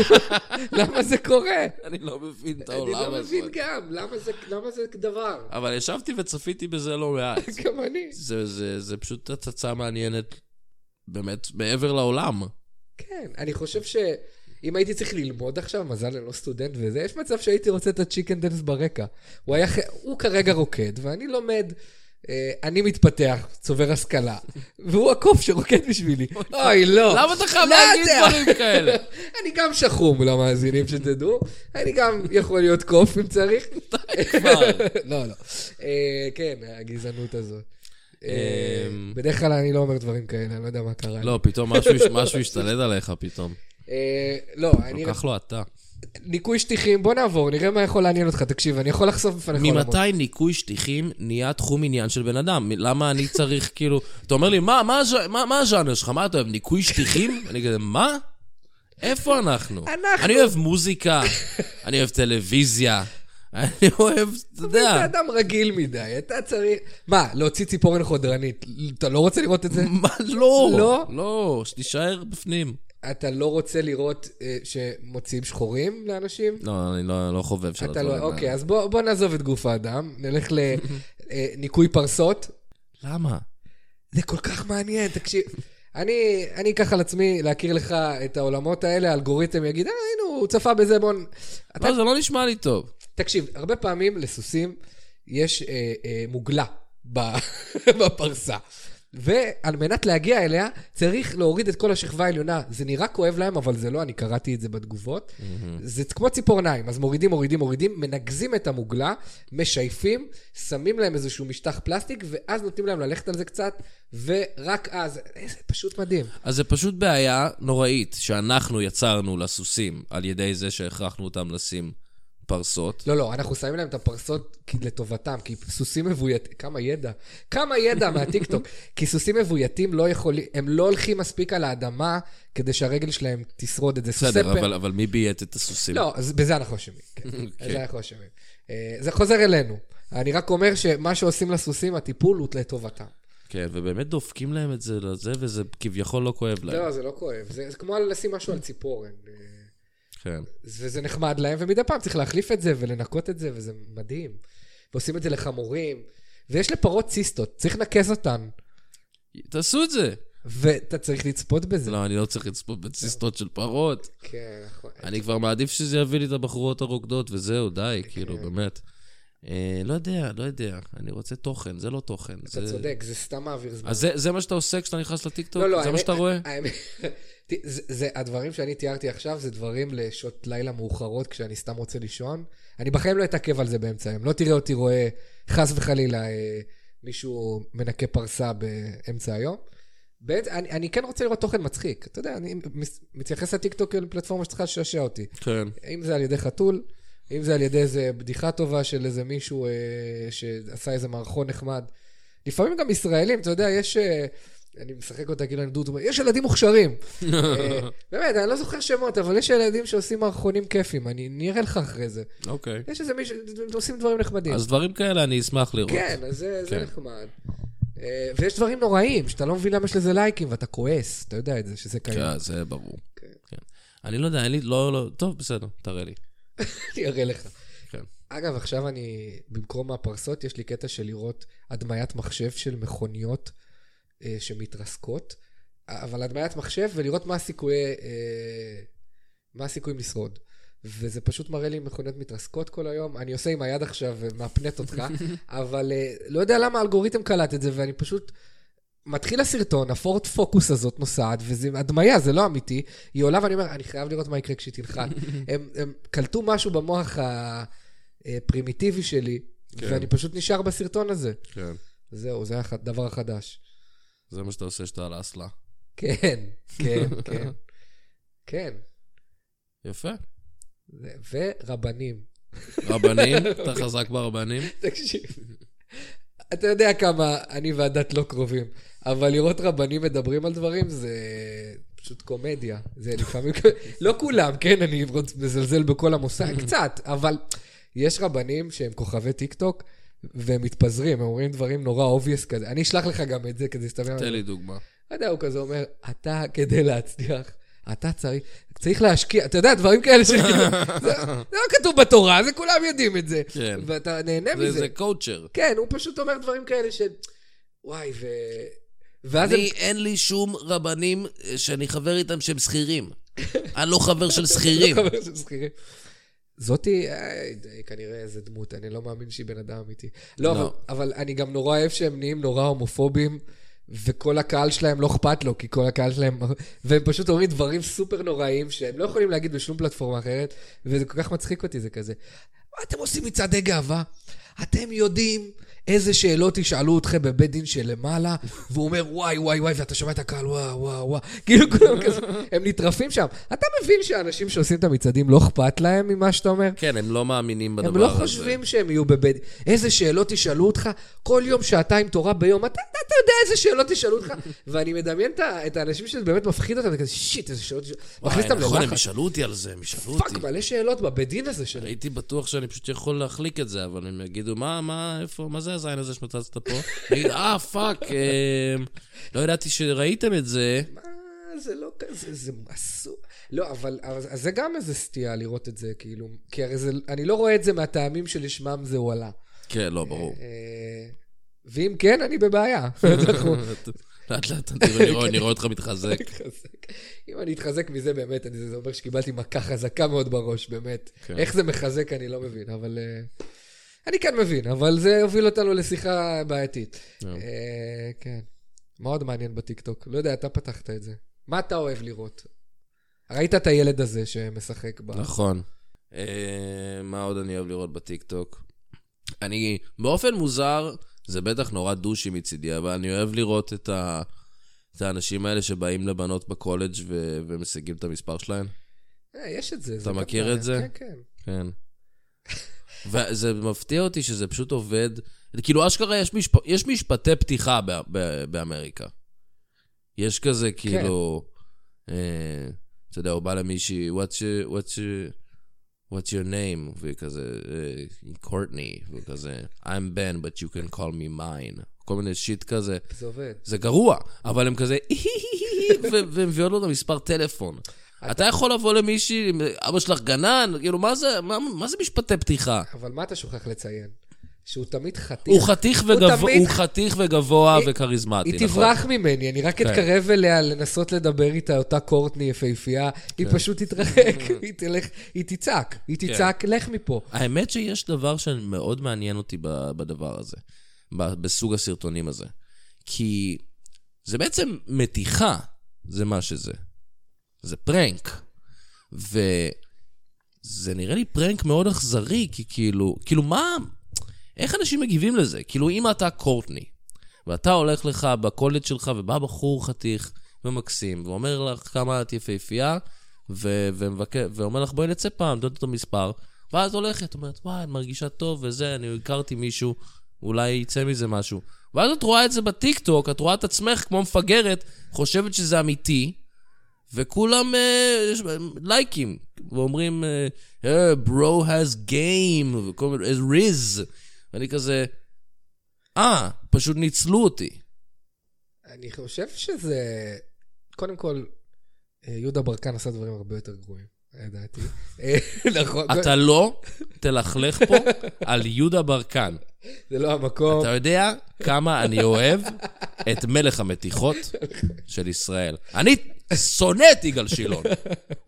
B: למה זה קורה?
C: אני לא מבין את
B: אני
C: העולם
B: לא
C: הזה.
B: מבין גם, למה זה- למה זה דבר?
C: אבל ישבתי וצפיתי בזה לא מעט.
B: גם אני.
C: זה, זה, זה פשוט הצצה מעניינת, באמת, מעבר לעולם.
B: כן, אני חושב ש... אם הייתי צריך ללמוד עכשיו, מזל אני לא סטודנט וזה, יש מצב שהייתי רוצה את הצ'יקן דנס ברקע. הוא, היה, ח- הוא כרגע רוקד, ואני לומד, אה, אני מתפתח, צובר השכלה, <laughs> והוא הקוף שרוקד בשבילי. אוי, לא.
C: למה אתה חייב
B: לא
C: להגיד
B: יודע.
C: דברים כאלה?
B: אני גם שחום למאזינים שתדעו, אני גם יכול להיות קוף אם
C: <laughs>
B: צריך.
C: כבר.
B: לא, לא. אה, כן, הגזענות הזאת. אה,
C: אמ,
B: בדרך כלל אני לא אומר דברים כאלה, אני לא יודע מה קרה. לי.
C: לא, פתאום משהו- <laughs> משהו השתלט עליך פתאום.
B: אה, לא, אני...
C: כל כך לא אתה.
B: ניקוי שטיחים, בוא נעבור, נראה מה יכול לעניין אותך. תקשיב, אני יכול לחשוף בפניך עולמות.
C: ממתי ניקוי שטיחים נהיה תחום עניין של בן אדם? מ- למה אני צריך <laughs> כאילו... אתה אומר לי, "מה- מה הז- מה מה הז'אנר שלך? מה אתה אוהב, ניקוי שטיחים? <laughs> אני כזה, מה? איפה אנחנו?
B: אנחנו.
C: אני אוהב
B: <laughs>
C: מוזיקה, אני אוהב טלוויזיה, אני אוהב, אתה
B: אתה
C: יודע,
B: אדם רגיל מדי, אתה צריך... מה, להוציא ציפורן חודרנית, אתה לא רוצה לראות את זה?
C: מה, לא,
B: לא?
C: לא, שתישאר בפנים.
B: אתה לא רוצה לראות אה, שמוציאים שחורים לאנשים?
C: לא, אני לא לא חובב של
B: אתה
C: הדברים
B: לא...
C: האלה.
B: אוקיי, אז בוא בוא נעזוב את גוף האדם, נלך
C: <laughs>
B: לניקוי פרסות.
C: למה?
B: זה כל כך מעניין, תקשיב. אני, אני אקח על עצמי להכיר לך את העולמות האלה, האלגוריתם יגיד, אה, הנה, הוא צפה בזה, בוא... נ-" אתה
C: לא, זה לא נשמע לי טוב.
B: תקשיב, הרבה פעמים לסוסים יש אה, אה, מוגלה ב- <laughs> בפרסה. ועל מנת להגיע אליה, צריך להוריד את כל השכבה העליונה. זה נראה כואב להם, אבל זה לא, אני קראתי את זה בתגובות. זה כמו ציפורניים, אז מורידים, מורידים, מורידים, מנגזים את המוגלה, משייפים, שמים להם איזשהו משטח פלסטיק, ואז נותנים להם ללכת על זה קצת, ורק אז. איזה פשוט מדהים.
C: אז זה פשוט בעיה נוראית שאנחנו יצרנו לסוסים על ידי זה שהכרחנו אותם לשים פרסות.
B: לא, לא, אנחנו שמים להם את הפרסות כי- לטובתם, כי סוסים מבויתים, כמה ידע, כמה ידע
C: <laughs>
B: מהטיקטוק, כי סוסים מבויתים לא יכולים, הם לא הולכים מספיק על האדמה כדי שהרגל שלהם תשרוד את זה. סוסי
C: בסדר,
B: פ-
C: אבל- אבל מי ביית את הסוסים?
B: לא, אז בזה אנחנו אשמים. כן.
C: אוקיי.
B: בזה אנחנו אשמים. אה, זה חוזר אלינו. אני רק אומר שמה שעושים לסוסים, הטיפול הוא לטובתם.
C: כן, ובאמת דופקים להם את זה לזה, וזה כביכול לא כואב
B: לא,
C: להם.
B: זה לא כואב. זה זה כמו לשים משהו על ציפורן. אה,
C: כן.
B: וזה נחמד להם, ומדי פעם צריך להחליף את זה ולנקות את זה, וזה מדהים. ועושים את זה לחמורים. ויש לפרות ציסטות, צריך לנקז אותן.
C: תעשו את זה.
B: ואתה צריך לצפות בזה.
C: לא, אני לא צריך לצפות בציסטות של פרות.
B: כן, נכון.
C: אני כבר מעדיף שזה יביא לי את הבחורות הרוקדות, וזהו, די,
B: כן.
C: כאילו, באמת. אה, לא יודע, לא יודע. אני רוצה תוכן, זה לא תוכן.
B: אתה צודק, זה סתם מעביר זמן.
C: אז זה- זה מה שאתה עושה כשאתה נכנס לטיקטוק?
B: לא, לא,
C: זה מה
B: האמת-
C: שאתה רואה?
B: האמת- <laughs> ת- זה- זה- הדברים שאני תיארתי עכשיו זה דברים לשעות לילה מאוחרות כשאני סתם רוצה לישון. אני בחיים לא אתעכב על זה באמצע היום. לא תראה אותי רואה, חס וחלילה, אה, מישהו מנקה פרסה באמצע היום. בעצם, אני, אני כן רוצה לראות תוכן מצחיק. אתה יודע, אני מס- מתייחס לטיקטוק כאל פלטפורמה שצריכה לשעשע אותי.
C: כן.
B: אם זה על ידי חתול, אם זה על ידי איזה בדיחה טובה של איזה מישהו אה, שעשה איזה מערכון נחמד. לפעמים גם ישראלים, אתה יודע, יש... אה, אני משחק אותה כאילו אני דודו, יש ילדים
C: <laughs>
B: מוכשרים. אה, באמת, אני לא זוכר שמות, אבל יש ילדים שעושים מערכונים כיפים, אני אני אראה לך אחרי זה.
C: אוקיי.
B: יש איזה מישהו, עושים דברים נחמדים.
C: אז דברים כאלה אני אשמח לראות.
B: אה, כן, אז זה, זה
C: כן.
B: נחמד. אה, ויש דברים נוראים, שאתה לא מבין למה יש לזה לייקים, ואתה כועס, אתה יודע את זה, שזה קיים.
C: כן, זה ברור.
B: כן.
C: כן. אני לא יודע, אין לי, לא, לא, טוב, בסדר, תראה לי.
B: <laughs> אני אראה לך.
C: כן.
B: אגב, עכשיו אני, במקום הפרסות, יש לי קטע של לראות הדמיית מחשב של מכוניות אה, שמתרסקות, אבל הדמיית מחשב ולראות מה הסיכויי, אה, מה הסיכויים לשרוד. וזה פשוט מראה לי מכוניות מתרסקות כל היום. אני עושה עם היד עכשיו ומאפנט אותך, אבל אה, לא יודע למה האלגוריתם קלט את זה, ואני פשוט... מתחיל הסרטון, הפורט פוקוס הזאת נוסעת, וזה הדמיה, זה לא אמיתי. היא עולה ואני אומר, אני חייב לראות מה יקרה כשהיא תנחת. הם, הם קלטו משהו במוח אה, הפרימיטיבי שלי,
C: כן.
B: כן. ואני פשוט נשאר בסרטון הזה.
C: כן.
B: זהו, זה הדבר החדש.
C: זה מה שאתה עושה שאתה על האסלה.
B: כן,
C: <laughs>
B: כן, כן. כן,
C: יפה.
B: זה- ורבנים. <laughs>
C: רבנים, אתה חזק ברבנים?
B: תקשיב, אתה יודע כמה אני והדת לא קרובים, אבל לראות רבנים מדברים על דברים זה פשוט קומדיה. זה לפעמים,
C: <laughs>
B: לא כולם, כן, אני רוצ- מזלזל בכל המושג, קצת, אבל יש רבנים שהם כוכבי טיקטוק. והם מתפזרים, הם אומרים דברים נורא אובייס כזה. אני אשלח לך גם את זה כדי שתבין.
C: תן לי דוגמה.
B: אתה לא יודע, הוא כזה אומר, אתה, כדי להצליח, אתה צריך, צריך להשקיע, אתה יודע, דברים כאלה של כאילו, זה, זה לא כתוב בתורה, זה כולם יודעים את זה.
C: כן.
B: ואתה נהנה
C: זה-
B: מזה.
C: זה קואוצ'ר.
B: כן, הוא פשוט אומר דברים כאלה של, וואי, ו... ואז <laughs>
C: אני, אין לי שום רבנים אה, שאני חבר איתם שהם
B: <laughs>
C: שכירים. אני לא חבר של שכירים.
B: חבר של שכירים. זאתי, אה, היא כנראה איזה דמות, אני לא מאמין שהיא בן אדם אמיתי. לא,
C: לא.
B: אבל, אבל אני גם נורא אוהב שהם נהיים נורא הומופובים, וכל הקהל שלהם לא אכפת לו, כי כל הקהל שלהם... <laughs> והם פשוט אומרים דברים סופר נוראים, שהם לא יכולים להגיד בשום פלטפורמה אחרת, וזה כל כך מצחיק אותי, זה כזה. מה אתם עושים מצעדי גאווה? אתם יודעים איזה שאלות ישאלו אתכם בבית דין שלמעלה, והוא אומר, וואי, וואי, וואי, ואתה שומע את הקהל, וואו, וואו, <laughs> וואו. כאילו כולם כזה, הם נטרפים שם. אתה מבין שאנשים שעושים את המצעדים, לא אכפת להם ממה שאתה אומר?
C: כן, הם לא מאמינים בדבר
B: הם
C: הזה.
B: לא חושבים שהם יהיו בבית... איזה שאלות ישאלו אותך? כל יום שעתיים תורה ביום, אתה, אתה, אתה יודע איזה שאלות ישאלו
C: <laughs>
B: אותך? ואני מדמיין את ה- את האנשים שזה באמת מפחיד אותם, וכזה, שיט, איזה שאלות ישאלו...
C: וואי,
B: מכניס אותם
C: נכון, הם
B: ללחץ.
C: ישאלו אותי על זה, הם ישאלו
B: פאק,
C: אותי.
B: מלא שאלות בבית דין הזה שלהם.
C: הייתי בטוח שאני פשוט יכול להחליק את זה, אבל הם יגידו, מה, מה, איפה, מה זה הזין הזה שמצצת פה? אני אגיד, אה, פאק, אה, לא ידעתי שראיתם את זה.
B: מה, זה לא כזה, זה אסור. לא, אבל אז, אז זה גם איזה סטייה לראות את זה, כאילו, כי הרי זה, אני לא רואה את זה מהטעמים שלשמם זה הועלה.
C: כן, לא, ברור.
B: אה, ואם כן, אני
C: <laughs>
B: בבעיה. אנחנו-
C: לאט לאט אני רואה- אני רואה- אני רואה אותך מתחזק.
B: אוקיי. מתחזק. אם אני אתחזק מזה, באמת, אני, זה אומר שקיבלתי מכה חזקה מאוד בראש, באמת.
C: כן.
B: איך זה מחזק, אני לא מבין, אבל... אה, אני כן מבין, אבל זה הוביל אותנו לשיחה בעייתית. אה, כן. מה עוד מעניין בטיקטוק? לא יודע, אתה פתחת את זה. מה אתה אוהב לראות? ראית את הילד הזה שמשחק ב...
C: נכון. אה, מה עוד אני אוהב לראות בטיקטוק? אני, באופן מוזר, זה בטח נורא דושי מצידי, אבל אני אוהב לראות את ה... את האנשים האלה שבאים לבנות בקולג' ו- ומשיגים את המספר שלהם.
B: אה, יש את זה.
C: אתה מכיר את זה?
B: כן, כן.
C: כן. וזה מפתיע אותי שזה פשוט עובד. כאילו, אשכרה יש, משפ... יש משפטי פתיחה ב... ב... באמריקה. יש כזה, כאילו... אה, אתה יודע, הוא בא למישהי, what's your... What's your... What's your name? והיא כזה, קורטני, והוא כזה, I'm Ben, but you can call me mine. כל מיני שיט כזה.
B: זה עובד.
C: זה גרוע, אבל הם כזה, ו- ומביאות לו את המספר טלפון. אתה יכול לבוא למישהי, אבא שלך גנן, כאילו, מה זה, מה, מה זה משפטי פתיחה?
B: אבל מה אתה שוכח לציין? שהוא תמיד חתיך.
C: הוא חתיך
B: הוא
C: וגבוה,
B: תמיד-
C: הוא חתיך וגבוה
B: היא-
C: וכריזמטי,
B: היא
C: נכון? כן.
B: תברח ממני, אני רק אתקרב אליה לנסות לדבר איתה, אותה קורטני יפהפייה,
C: כן.
B: היא פשוט תתרחק, <laughs> היא תלך, היא תצעק, היא תצעק, לך מפה.
C: האמת שיש דבר שמאוד מעניין אותי ב- בדבר הזה, ב- בסוג הסרטונים הזה. כי זה בעצם מתיחה, זה מה שזה. זה פרנק. וזה נראה לי פרנק מאוד אכזרי, כי כאילו, כאילו מה, איך אנשים מגיבים לזה? כאילו, אם אתה קורטני, ואתה הולך לך בקולג' שלך, ובא בחור חתיך ומקסים, ואומר לך כמה את יפהפייה, ו- ומבקר, ואומר לך, בואי נצא פעם, נותן אותו מספר, ואז הולכת, אומרת, וואי, את מרגישה טוב וזה, אני הכרתי מישהו, אולי יצא מזה משהו. ואז את רואה את זה בטיקטוק, את רואה את עצמך כמו מפגרת, חושבת שזה אמיתי, וכולם אה, יש- לייקים, ואומרים, אה, אה, bro has game, וכל מיני, is riz, ואני כזה, אה, פשוט ניצלו אותי.
B: אני חושב שזה... קודם כל, אה, יהודה ברקן עשה דברים הרבה יותר גרועים, לדעתי. אה, נכון,
C: אתה לא תלכלך פה על יהודה ברקן.
B: זה לא המקום.
C: אתה יודע כמה אני אוהב את מלך המתיחות של ישראל. אני שונא את יגאל שילון.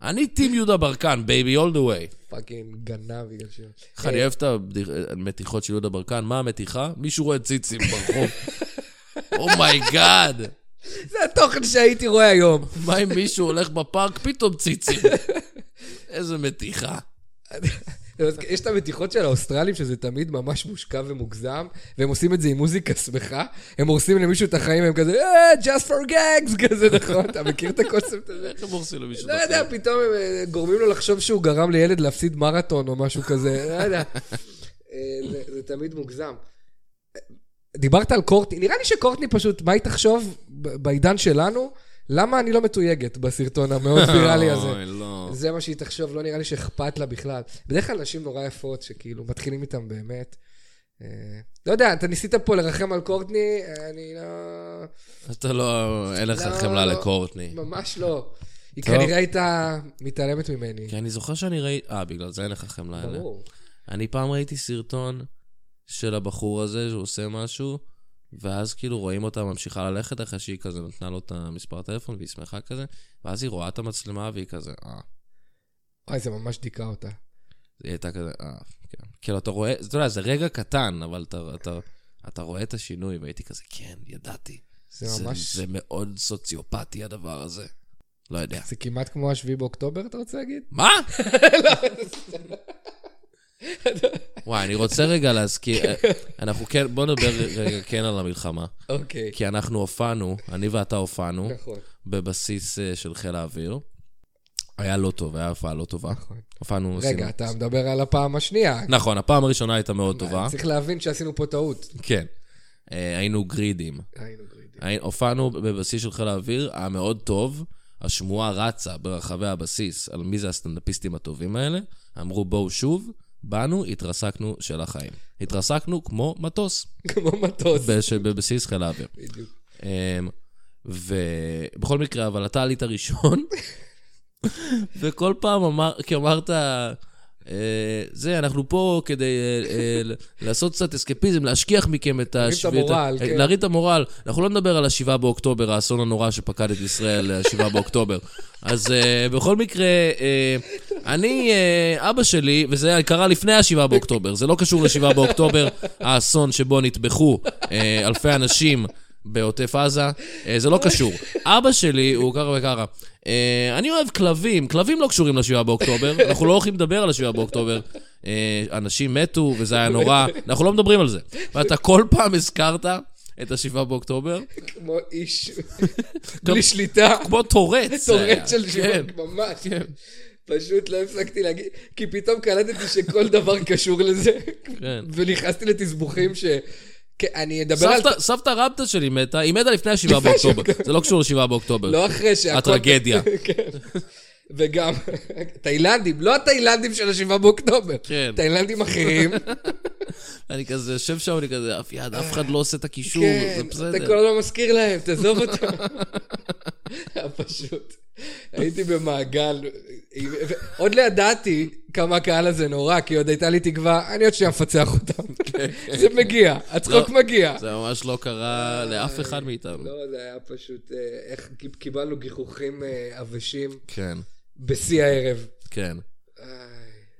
C: אני טים יהודה ברקן, בייבי, all the way.
B: פאקינג גנב בגלל ש...
C: איך אני אוהב את הבדיח- המתיחות של יהודה ברקן, מה המתיחה? מישהו רואה ציצים ברחוב. Oh אומייגאד,
B: זה התוכן שהייתי רואה היום.
C: מה אם מישהו הולך בפארק, פתאום ציצים. איזה מתיחה.
B: אז יש את המתיחות של האוסטרלים, שזה תמיד ממש מושקע ומוגזם, והם עושים את זה עם מוזיקה שמחה. הם הורסים למישהו את החיים, הם כזה, אה, just for gags, <laughs> כזה, נכון? אתה מכיר את הקונספט הזה?
C: איך הם הורסים למישהו?
B: לא
C: את
B: יודע,
C: החיים?
B: פתאום הם אה, גורמים לו לחשוב שהוא גרם לילד להפסיד מרתון או משהו כזה, לא יודע. אה, זה- זה תמיד מוגזם. דיברת על קורטני, נראה לי שקורטני פשוט, מה היא תחשוב ב- בעידן שלנו? למה אני לא מתויגת בסרטון
C: <laughs>
B: המאוד ויראלי הזה?
C: אוי, לא.
B: זה מה שהיא תחשוב, לא נראה לי שאכפת לה בכלל. בדרך כלל נשים נורא יפות, שכאילו, מתחילים איתן באמת. אה, לא יודע, אתה ניסית פה לרחם על קורטני, אה, אני לא...
C: אתה לא, אין לך
B: לא,
C: חמלה
B: לא.
C: לקורטני.
B: ממש לא. היא
C: טוב. כן,
B: כנראה הייתה מתעלמת ממני.
C: כי אני זוכר שאני ראיתי... אה, בגלל זה אין לך חמלה. אליה.
B: ברור.
C: אני פעם ראיתי סרטון של הבחור הזה שהוא עושה משהו, ואז כאילו רואים אותה ממשיכה ללכת אחרי שהיא כזה נתנה לו את המספר הטלפון והיא שמחה כזה, ואז היא רואה את המצלמה והיא כזה, אה.
B: וואי, זה ממש דיכא אותה.
C: היא הייתה כזה, אה, כן. כאילו, אתה רואה, אתה יודע, זה רגע קטן, אבל אתה, אתה, אתה רואה את השינוי, והייתי כזה, כן, ידעתי.
B: זה ממש...
C: זה, זה מאוד סוציופתי הדבר הזה. לא יודע.
B: זה כמעט כמו השביעי באוקטובר, אתה רוצה להגיד?
C: מה? <laughs> וואי, אני רוצה רגע להזכיר, אנחנו כן, בוא נדבר רגע כן על המלחמה.
B: אוקיי.
C: כי אנחנו הופענו, אני ואתה הופענו,
B: <laughs> נכון.
C: בבסיס אה, של חיל האוויר. היה לא טוב, היה הופעה לא טובה.
B: נכון.
C: הופענו...
B: רגע,
C: עשינו-
B: אתה מדבר על הפעם השנייה.
C: נכון, הפעם הראשונה הייתה מאוד טובה.
B: צריך להבין שעשינו פה טעות.
C: כן. אה, היינו גרידים.
B: היינו גרידים. <laughs>
C: היינו- הופענו בבסיס של חיל האוויר, היה מאוד טוב. השמועה רצה ברחבי הבסיס על מי זה הסטנדאפיסטים הטובים האלה. אמרו, בואו שוב, באנו, התרסקנו של החיים. התרסקנו כמו מטוס
B: כמו מטוס.
C: בש- בבסיס חיל האוויר.
B: בדיוק.
C: אמ, ובכל מקרה, אבל אתה עלית ראשון, <laughs> וכל פעם אמר, כי אמרת, אה, זה, אנחנו פה כדי אה, אה, ל- לעשות קצת אסקפיזם, להשכיח מכם את
B: להרים את
C: השביעית.
B: המורל,
C: אה,
B: כן.
C: להרים את המורל. אנחנו לא נדבר על השבעה באוקטובר, האסון הנורא שפקד את ישראל, אה, השבעה באוקטובר. אז אה, בכל מקרה, אה, אני, אה, אבא שלי, וזה קרה לפני השבעה באוקטובר, זה לא קשור לשבעה באוקטובר, האסון שבו נטבחו אה, אלפי אנשים. בעוטף עזה, אה, זה לא קשור. אבא שלי הוא ככה וככה. אה, אני אוהב כלבים, כלבים לא קשורים לשבעה באוקטובר, אנחנו לא הולכים לדבר על השבעה באוקטובר. אה, אנשים מתו וזה היה נורא, אנחנו לא מדברים על זה. ואתה כל פעם הזכרת את השבעה באוקטובר,
B: כמו איש. בלי שליטה. <laughs>
C: כמו טורץ. זה היה.
B: טורט של
C: כן.
B: שיווק, ממש. פשוט לא הפסקתי להגיד, כי פתאום קלטתי שכל דבר קשור לזה,
C: כן.
B: ונכנסתי לתסבוכים ש... כן, אני אדבר על...
C: סבתא- סבתא רבתא שלי מתה, היא מתה
B: <laughs>
C: לפני השבעה באוקטובר. זה לא קשור לשבעה באוקטובר.
B: לא אחרי שהכל...
C: הטרגדיה.
B: <laughs> כן. וגם, תאילנדים, לא התאילנדים של השבעה באוקטובר.
C: כן.
B: תאילנדים אחרים.
C: אני כזה יושב שם, אני כזה, אף יד, אף אחד לא עושה את הקישור,
B: כן,
C: זה
B: אתה כל
C: בסדר.
B: הזמן מזכיר להם, תעזוב אותם. <laughs> פשוט. הייתי במעגל, ו- עוד לא ידעתי כמה הקהל הזה נורא, כי עוד הייתה לי תקווה, אני עוד שנייה מפצח אותם.
C: <laughs>
B: זה מגיע, הצחוק
C: לא,
B: מגיע.
C: זה ממש לא קרה לאף אחד מאיתנו.
B: לא, זה היה פשוט, אה, איך קיב- קיבלנו גיחוכים אה, עבשים
C: כן,
B: בשיא הערב.
C: כן.
B: איי.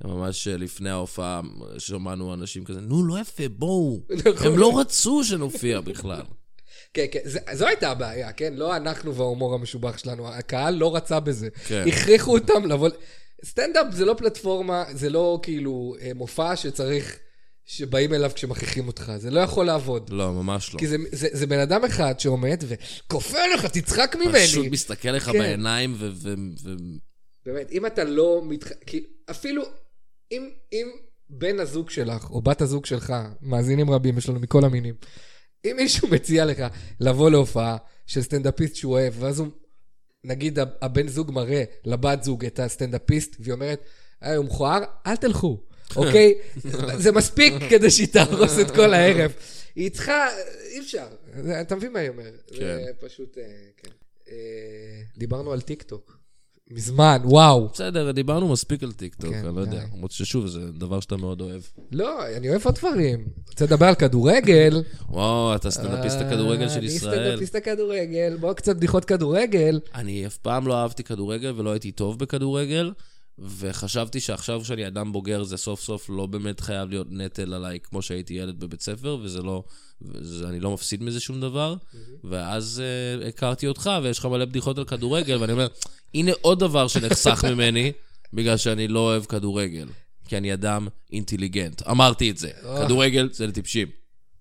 C: ממש אה, לפני ההופעה אה, שמענו אנשים כזה, נו, לא יפה, בואו.
B: נכון.
C: הם לא רצו שנופיע בכלל.
B: כן, כן, זה- זו הייתה הבעיה, כן? לא אנחנו וההומור המשובח שלנו, הקהל לא רצה בזה.
C: כן.
B: הכריחו אותם לבוא... סטנדאפ זה לא פלטפורמה, זה לא כאילו אה, מופע שצריך, שבאים אליו כשמכריחים אותך, זה לא יכול לעבוד.
C: לא, ממש לא.
B: כי זה, זה, זה בן אדם אחד שעומד וכופה עליך, תצחק
C: פשוט
B: ממני.
C: מסתכל לך
B: כן.
C: בעיניים ו... ו- ו-
B: באמת, אם אתה לא מתח... כי אפילו אם, אם בן הזוג שלך, או בת הזוג שלך, מאזינים רבים, יש לנו מכל המינים, אם מישהו <laughs> מציע לך לבוא להופעה של סטנדאפיסט שהוא אוהב, ואז הוא, נגיד הב- הבן זוג מראה לבת זוג את הסטנדאפיסט, והיא אומרת, היי, הוא מכוער, אל תלכו, אוקיי? זה מספיק <laughs> כדי שהיא תהרוס את כל הערב. היא צריכה, אי אפשר. זה- אתה מבין מה היא אומרת. זה
C: כן.
B: פשוט, אה, כן. אה, דיברנו על טיקטוק. מזמן, וואו.
C: בסדר, דיברנו מספיק על טיקטוק,
B: כן,
C: אני לא יודע.
B: די.
C: למרות ששוב, זה דבר שאתה מאוד אוהב.
B: לא, אני אוהב עוד דברים. רוצה לדבר על כדורגל?
C: וואו, אתה סטנדאפיסט הכדורגל של
B: אה, אני
C: ישראל.
B: סטנדאפיסט הכדורגל, בואו קצת בדיחות כדורגל.
C: אני אף פעם לא אהבתי כדורגל ולא הייתי טוב בכדורגל, וחשבתי שעכשיו שאני אדם בוגר זה סוף סוף לא באמת חייב להיות נטל עליי כמו שהייתי ילד בבית ספר, וזה לא... זה, אני לא מפסיד מזה שום דבר, ואז uh, הכרתי אותך, ויש לך מלא בדיחות על כדורגל, ואני אומר, הנה עוד דבר שנחסך
B: <laughs>
C: ממני, בגלל שאני לא אוהב כדורגל, כי אני אדם אינטליגנט. אמרתי את זה, כדורגל זה לטיפשים.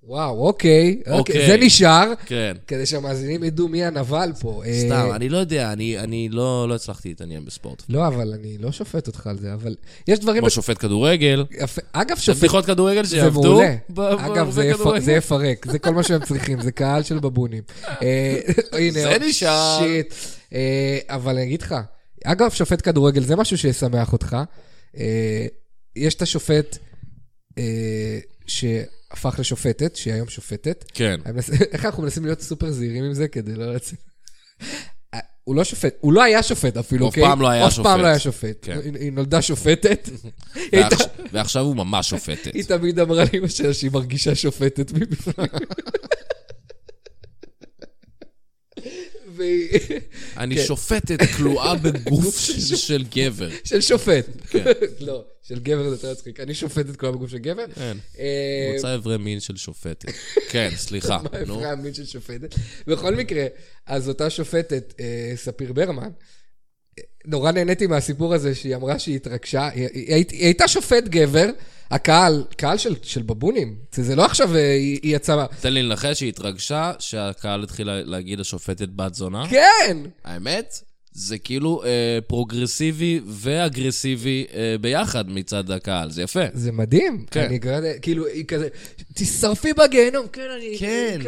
B: וואו, אוקיי. אוקיי.
C: אוקיי.
B: זה נשאר,
C: כן.
B: כדי שהמאזינים ידעו מי הנבל פה. אה,
C: סתם, אני לא יודע, אני, אני לא, לא הצלחתי להתעניין בספורט.
B: לא, אבל אני לא שופט אותך על זה, אבל יש דברים...
C: כמו שופט כדורגל.
B: יפה. אגב,
C: זה
B: שופט
C: בדיחות כדורגל
B: זה
C: שיעבדו.
B: מעולה.
C: ב-
B: אגב,
C: בערוצי
B: זה יפ-
C: כדורגל.
B: זה יפרק, זה כל מה שהם צריכים, זה קהל של בבונים. אה,
C: <laughs>
B: הנה,
C: זה
B: עוד
C: נשאר.
B: שיט. אה, אבל אני אגיד לך, אגב, שופט כדורגל זה משהו שישמח אותך. אה, יש את השופט אה, שהפך לשופטת, שהיא היום שופטת.
C: כן.
B: אני מנס- <laughs> איך אנחנו מנסים להיות סופר זהירים עם זה כדי לא לצאת? אה, הוא לא שופט, הוא לא היה שופט אפילו,
C: הוא אף פעם לא היה
B: אף פעם
C: שופט.
B: לא היה שופט.
C: כן.
B: היא- היא נולדה שופטת. היא הייתה-
C: ועכשיו- ועכשיו הוא ממש שופטת.
B: היא תמיד אמרה לאמא שלה שהיא מרגישה שופטת מבפנים. והיא... כן.
C: אני שופטת
B: <laughs>
C: כלואה בגוף של- של גבר.
B: של שופט.
C: כן.
B: לא, של גבר זה יותר מצחיק. אני שופטת כולה בגוף של גבר.
C: כן.
B: אה,
C: רוצה איברי מין של
B: <laughs>
C: שופטת. כן, סליחה.
B: מה
C: נו.
B: איברי המין של שופטת? בכל מקרה, אז אותה שופטת, אה, ספיר ברמן, אה, נורא נהניתי מהסיפור הזה שהיא אמרה שהיא התרגשה. היא, היא, היא, היא הייתה שופט גבר, הקהל, קהל של, של בבונים. זה זה לא עכשיו אה, היא, היא יצאה...
C: תן לי לנחש שהיא התרגשה שהקהל התחיל לה- להגיד השופטת בת זונה.
B: כן!
C: האמת? זה כאילו אה, פרוגרסיבי ואגרסיבי אה, ביחד מצד הקהל, זה יפה.
B: זה מדהים.
C: כן.
B: אני קראתי, כאילו, היא כזה, תשרפי בגיהנום, כן, אני...
C: כן,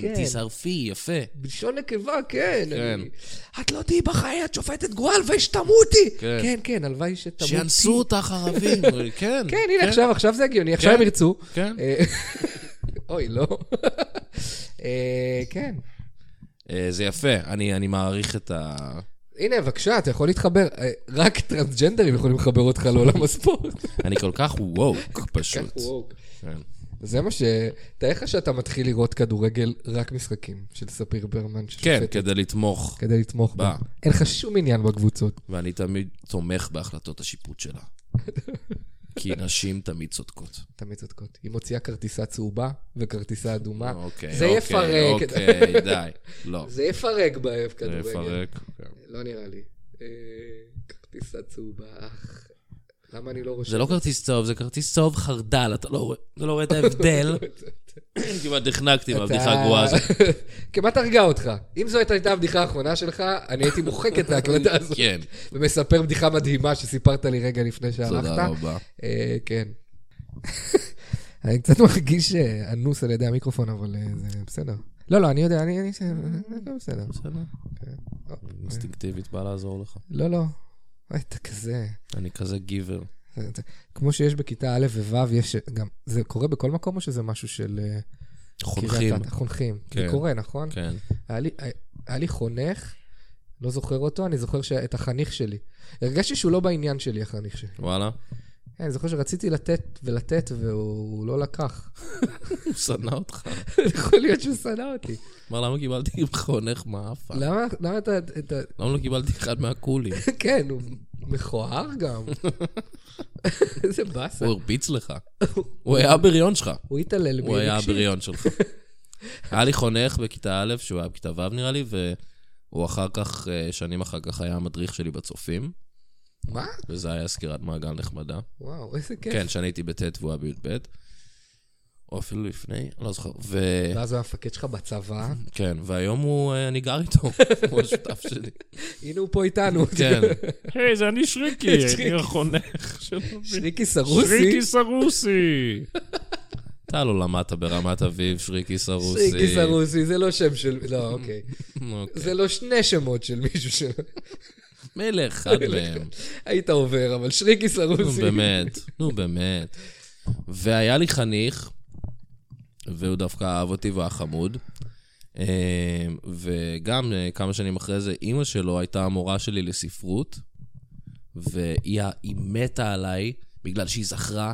C: כן, תשרפי, יפה.
B: בלשון נקבה, כן.
C: כן.
B: אני, את לא תהיי בחיי, את שופטת גרועה, הלוואי שתמותי.
C: כן.
B: כן, כן, הלוואי שתמותי.
C: שיאנסו אותך
B: <laughs>
C: ערבים, כן.
B: כן, הנה, עכשיו, עכשיו זה הגיוני, עכשיו
C: כן.
B: הם ירצו.
C: כן.
B: אה, <laughs> אוי, לא. <laughs> אה, כן.
C: אה, זה יפה, אני, אני מעריך את ה...
B: הנה, בבקשה, אתה יכול להתחבר. אה, רק טרנסג'נדרים יכולים לחבר אותך לעולם הספורט.
C: אני כל כך ווק, פשוט.
B: כך וואו.
C: כן.
B: זה מה ש... תאר לך שאתה מתחיל לראות כדורגל רק משחקים של ספיר ברמן. של
C: כן,
B: שופט,
C: כדי לתמוך,
B: כדי לתמוך בה.
C: בה.
B: אין לך שום עניין בקבוצות.
C: ואני תמיד תומך בהחלטות השיפוט שלה. כי נשים תמיד
B: <laughs>
C: צודקות.
B: תמיד צודקות. היא מוציאה כרטיסה צהובה וכרטיסה אדומה.
C: אוקיי,
B: אה, זה
C: אוקיי,
B: יפרק. את- <laughs>
C: אוקיי, די. לא,
B: זה יפרק בערב
C: זה
B: כדורגל.
C: יפרק. כן.
B: לא נראה לי. אה, כרטיסה צהובה, אך. למה אני לא רושם? <laughs>
C: <laughs> זה לא כרטיס צהוב, זה כרטיס צהוב חרדל, אתה לא רואה- אתה לא רואה את ההבדל. כמעט נחנקתי מהבדיחה
B: אתה-
C: הגרועה הזאת.
B: <laughs> כמעט הרגה אותך. אם זו הייתה הבדיחה האחרונה שלך, אני הייתי מוחק
C: <laughs>
B: את ההקלטה הזאת.
C: כן.
B: ומספר בדיחה מדהימה שסיפרת לי רגע לפני שהלכת.
C: תודה רבה.
B: אה, כן. <laughs> אני קצת מרגיש אה, אנוס על ידי המיקרופון, אבל אה, זה בסדר. לא, לא, אני יודע, אני... אני- הכל בסדר.
C: בסדר. אוקיי. אינסטינקטיבית בא לעזור לך.
B: לא, לא. אוי, אתה כזה...
C: אני כזה גיבר.
B: זה- זה- כמו שיש בכיתה א' וו', יש גם... זה קורה בכל מקום או שזה משהו של... אה,
C: חונכים.
B: קריית אתא? חונכים. זה
C: כן.
B: קורה, נכון?
C: כן.
B: היה לי- היה לי חונך, לא זוכר אותו, אני זוכר ש- את החניך שלי. הרגשתי שהוא לא בעניין שלי, החניך שלי.
C: וואלה.
B: כן, אני זוכר שרציתי לתת ולתת, והוא לא לקח. <laughs>
C: הוא שנא אותך.
B: יכול להיות שהוא שנא אותי.
C: אמר, למה קיבלתי חונך מעפה?
B: למה למה אתה... אתה-
C: למה לא קיבלתי אחד מהקולים?
B: כן, הוא מכוער
C: <laughs>
B: גם. איזה באסה.
C: הוא הרביץ לך. הוא היה הבריון שלך.
B: הוא התעלל בי.
C: הוא היה
B: רגשית.
C: הבריון שלך. היה לי חונך בכיתה א', שהוא היה בכיתה ו' נראה לי, והוא אחר כך, אה, שנים אחר כך היה המדריך שלי בצופים,
B: מה?
C: וזה היה סקירת מעגל נחמדה.
B: וואו, איזה כיף.
C: כן, שאני הייתי בט' והוא היה בי"ב, או אפילו לפני, אני לא זוכר. ו...
B: ואז הוא המפקד שלך בצבא,
C: כן, והיום הוא, אה, אני גר איתו, <laughs> הוא השותף שלי.
B: הנה הוא פה איתנו.
C: <laughs> כן,
D: היי, זה אני שריקי, אני החונך של...
B: שריקי סרוסי.
D: שריקי סרוסי.
C: אתה לא למדת ברמת אביב, שריקי סרוסי.
B: שריקי סרוסי, זה לא שם של... לא, אוקיי.
C: אוקיי.
B: זה לא שני שמות של מישהו ש... <laughs>
C: מלך, אחד מהם.
B: היית עובר, אבל שריקי <laughs>
C: נו
B: סרוסי.
C: באמת, נו באמת. והיה לי חניך, והוא דווקא אהב אותי והוא היה חמוד. אמ, וגם אה, כמה שנים אחרי זה, אימא שלו הייתה המורה שלי לספרות, והיא היא מתה עליי בגלל שהיא זכרה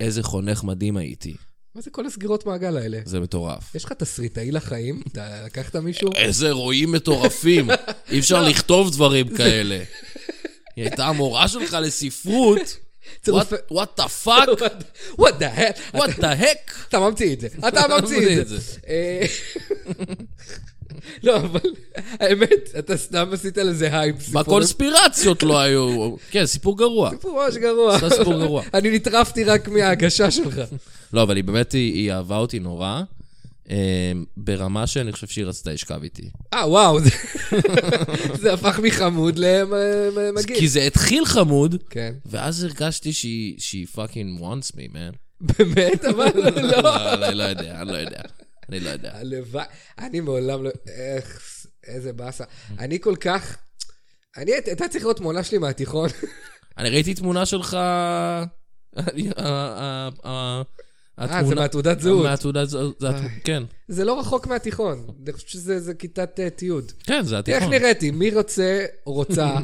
C: איזה חונך מדהים הייתי.
B: מה זה כל הסגירות מעגל האלה?
C: זה מטורף.
B: יש לך תסריטאי לחיים? אתה לקחת מישהו?
C: איזה רואים מטורפים, אי אפשר לכתוב דברים כאלה. היא הייתה המורה שלך לספרות,
B: צירופי-
C: what what the fuck,
B: <laughs> What the hell?
C: what the heck.
B: אתה ממציא את זה. <laughs> אתה ממציא את זה. אה, לא, אבל האמת, אתה סתם עשית לזה הייפ. סיפור-
C: בקונספירציות לא היו. כן, סיפור גרוע.
B: סיפור ממש גרוע.
C: זה סיפור גרוע.
B: <laughs> אני נטרפתי רק מההגשה שלך.
C: לא, אבל היא באמת, היא היא אהבה אותי נורא, אה, ברמה שאני חושב שהיא רצתה לשכב איתי.
B: אה, וואו, זה- <laughs> זה הפך מחמוד למגעיל.
C: כי זה התחיל חמוד,
B: כן.
C: ואז הרגשתי שהיא- שהיא פאקינג wants me, man.
B: באמת, אבל לא.
C: לא, אני לא יודע, אני לא יודע. אני לא יודע.
B: הלוואי, אני מעולם לא... איך, איזה באסה. אני כל כך... אני, הייתה צריכה להיות תמונה שלי מהתיכון. <laughs>
C: אני ראיתי תמונה שלך... אה, אני- ה- ה- ה-
B: אה, זה מהתעודת זהות.
C: מהתעודת זהות. זה הת- כן.
B: זה לא רחוק מהתיכון. אני חושב שזה זה כיתת אה, תיעוד.
C: כן, זה
B: תראה איך
C: התיכון.
B: נראיתי, מי רוצה או
C: <laughs>
B: רוצה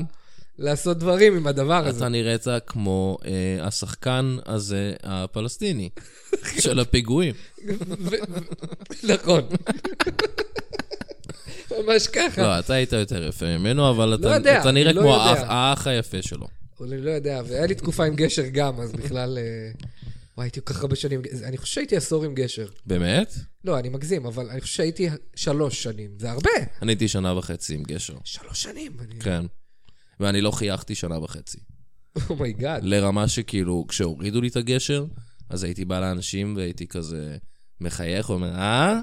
B: לעשות דברים עם הדבר הזה.
C: אתה נראית כמו אה, השחקן הזה,
B: <laughs>
C: הפלסטיני,
B: כן.
C: של הפיגועים.
B: ו- ו- נכון. ממש ככה.
C: לא, אתה היית יותר יפה ממנו, אבל אתה-
B: כן. לא יודע,
C: אתה נראה
B: לא
C: כמו
B: יודע.
C: האח- האח היפה שלו.
B: אני לא יודע, והיה לי תקופה עם גשר גם, אז בכלל... אה, וואי, הייתי כל כך הרבה שנים... עם גשר. אני חושב שהייתי עשור עם גשר.
C: באמת?
B: לא, אני מגזים, אבל אני חושב שהייתי שלוש שנים. זה הרבה.
C: אני הייתי שנה וחצי עם גשר.
B: שלוש שנים. אני-
C: כן. ואני לא חייכתי שנה וחצי.
B: Oh אומייגאד.
C: לרמה שכאילו, כשהורידו לי את הגשר, אז הייתי בא לאנשים והייתי כזה מחייך, אומר, אה?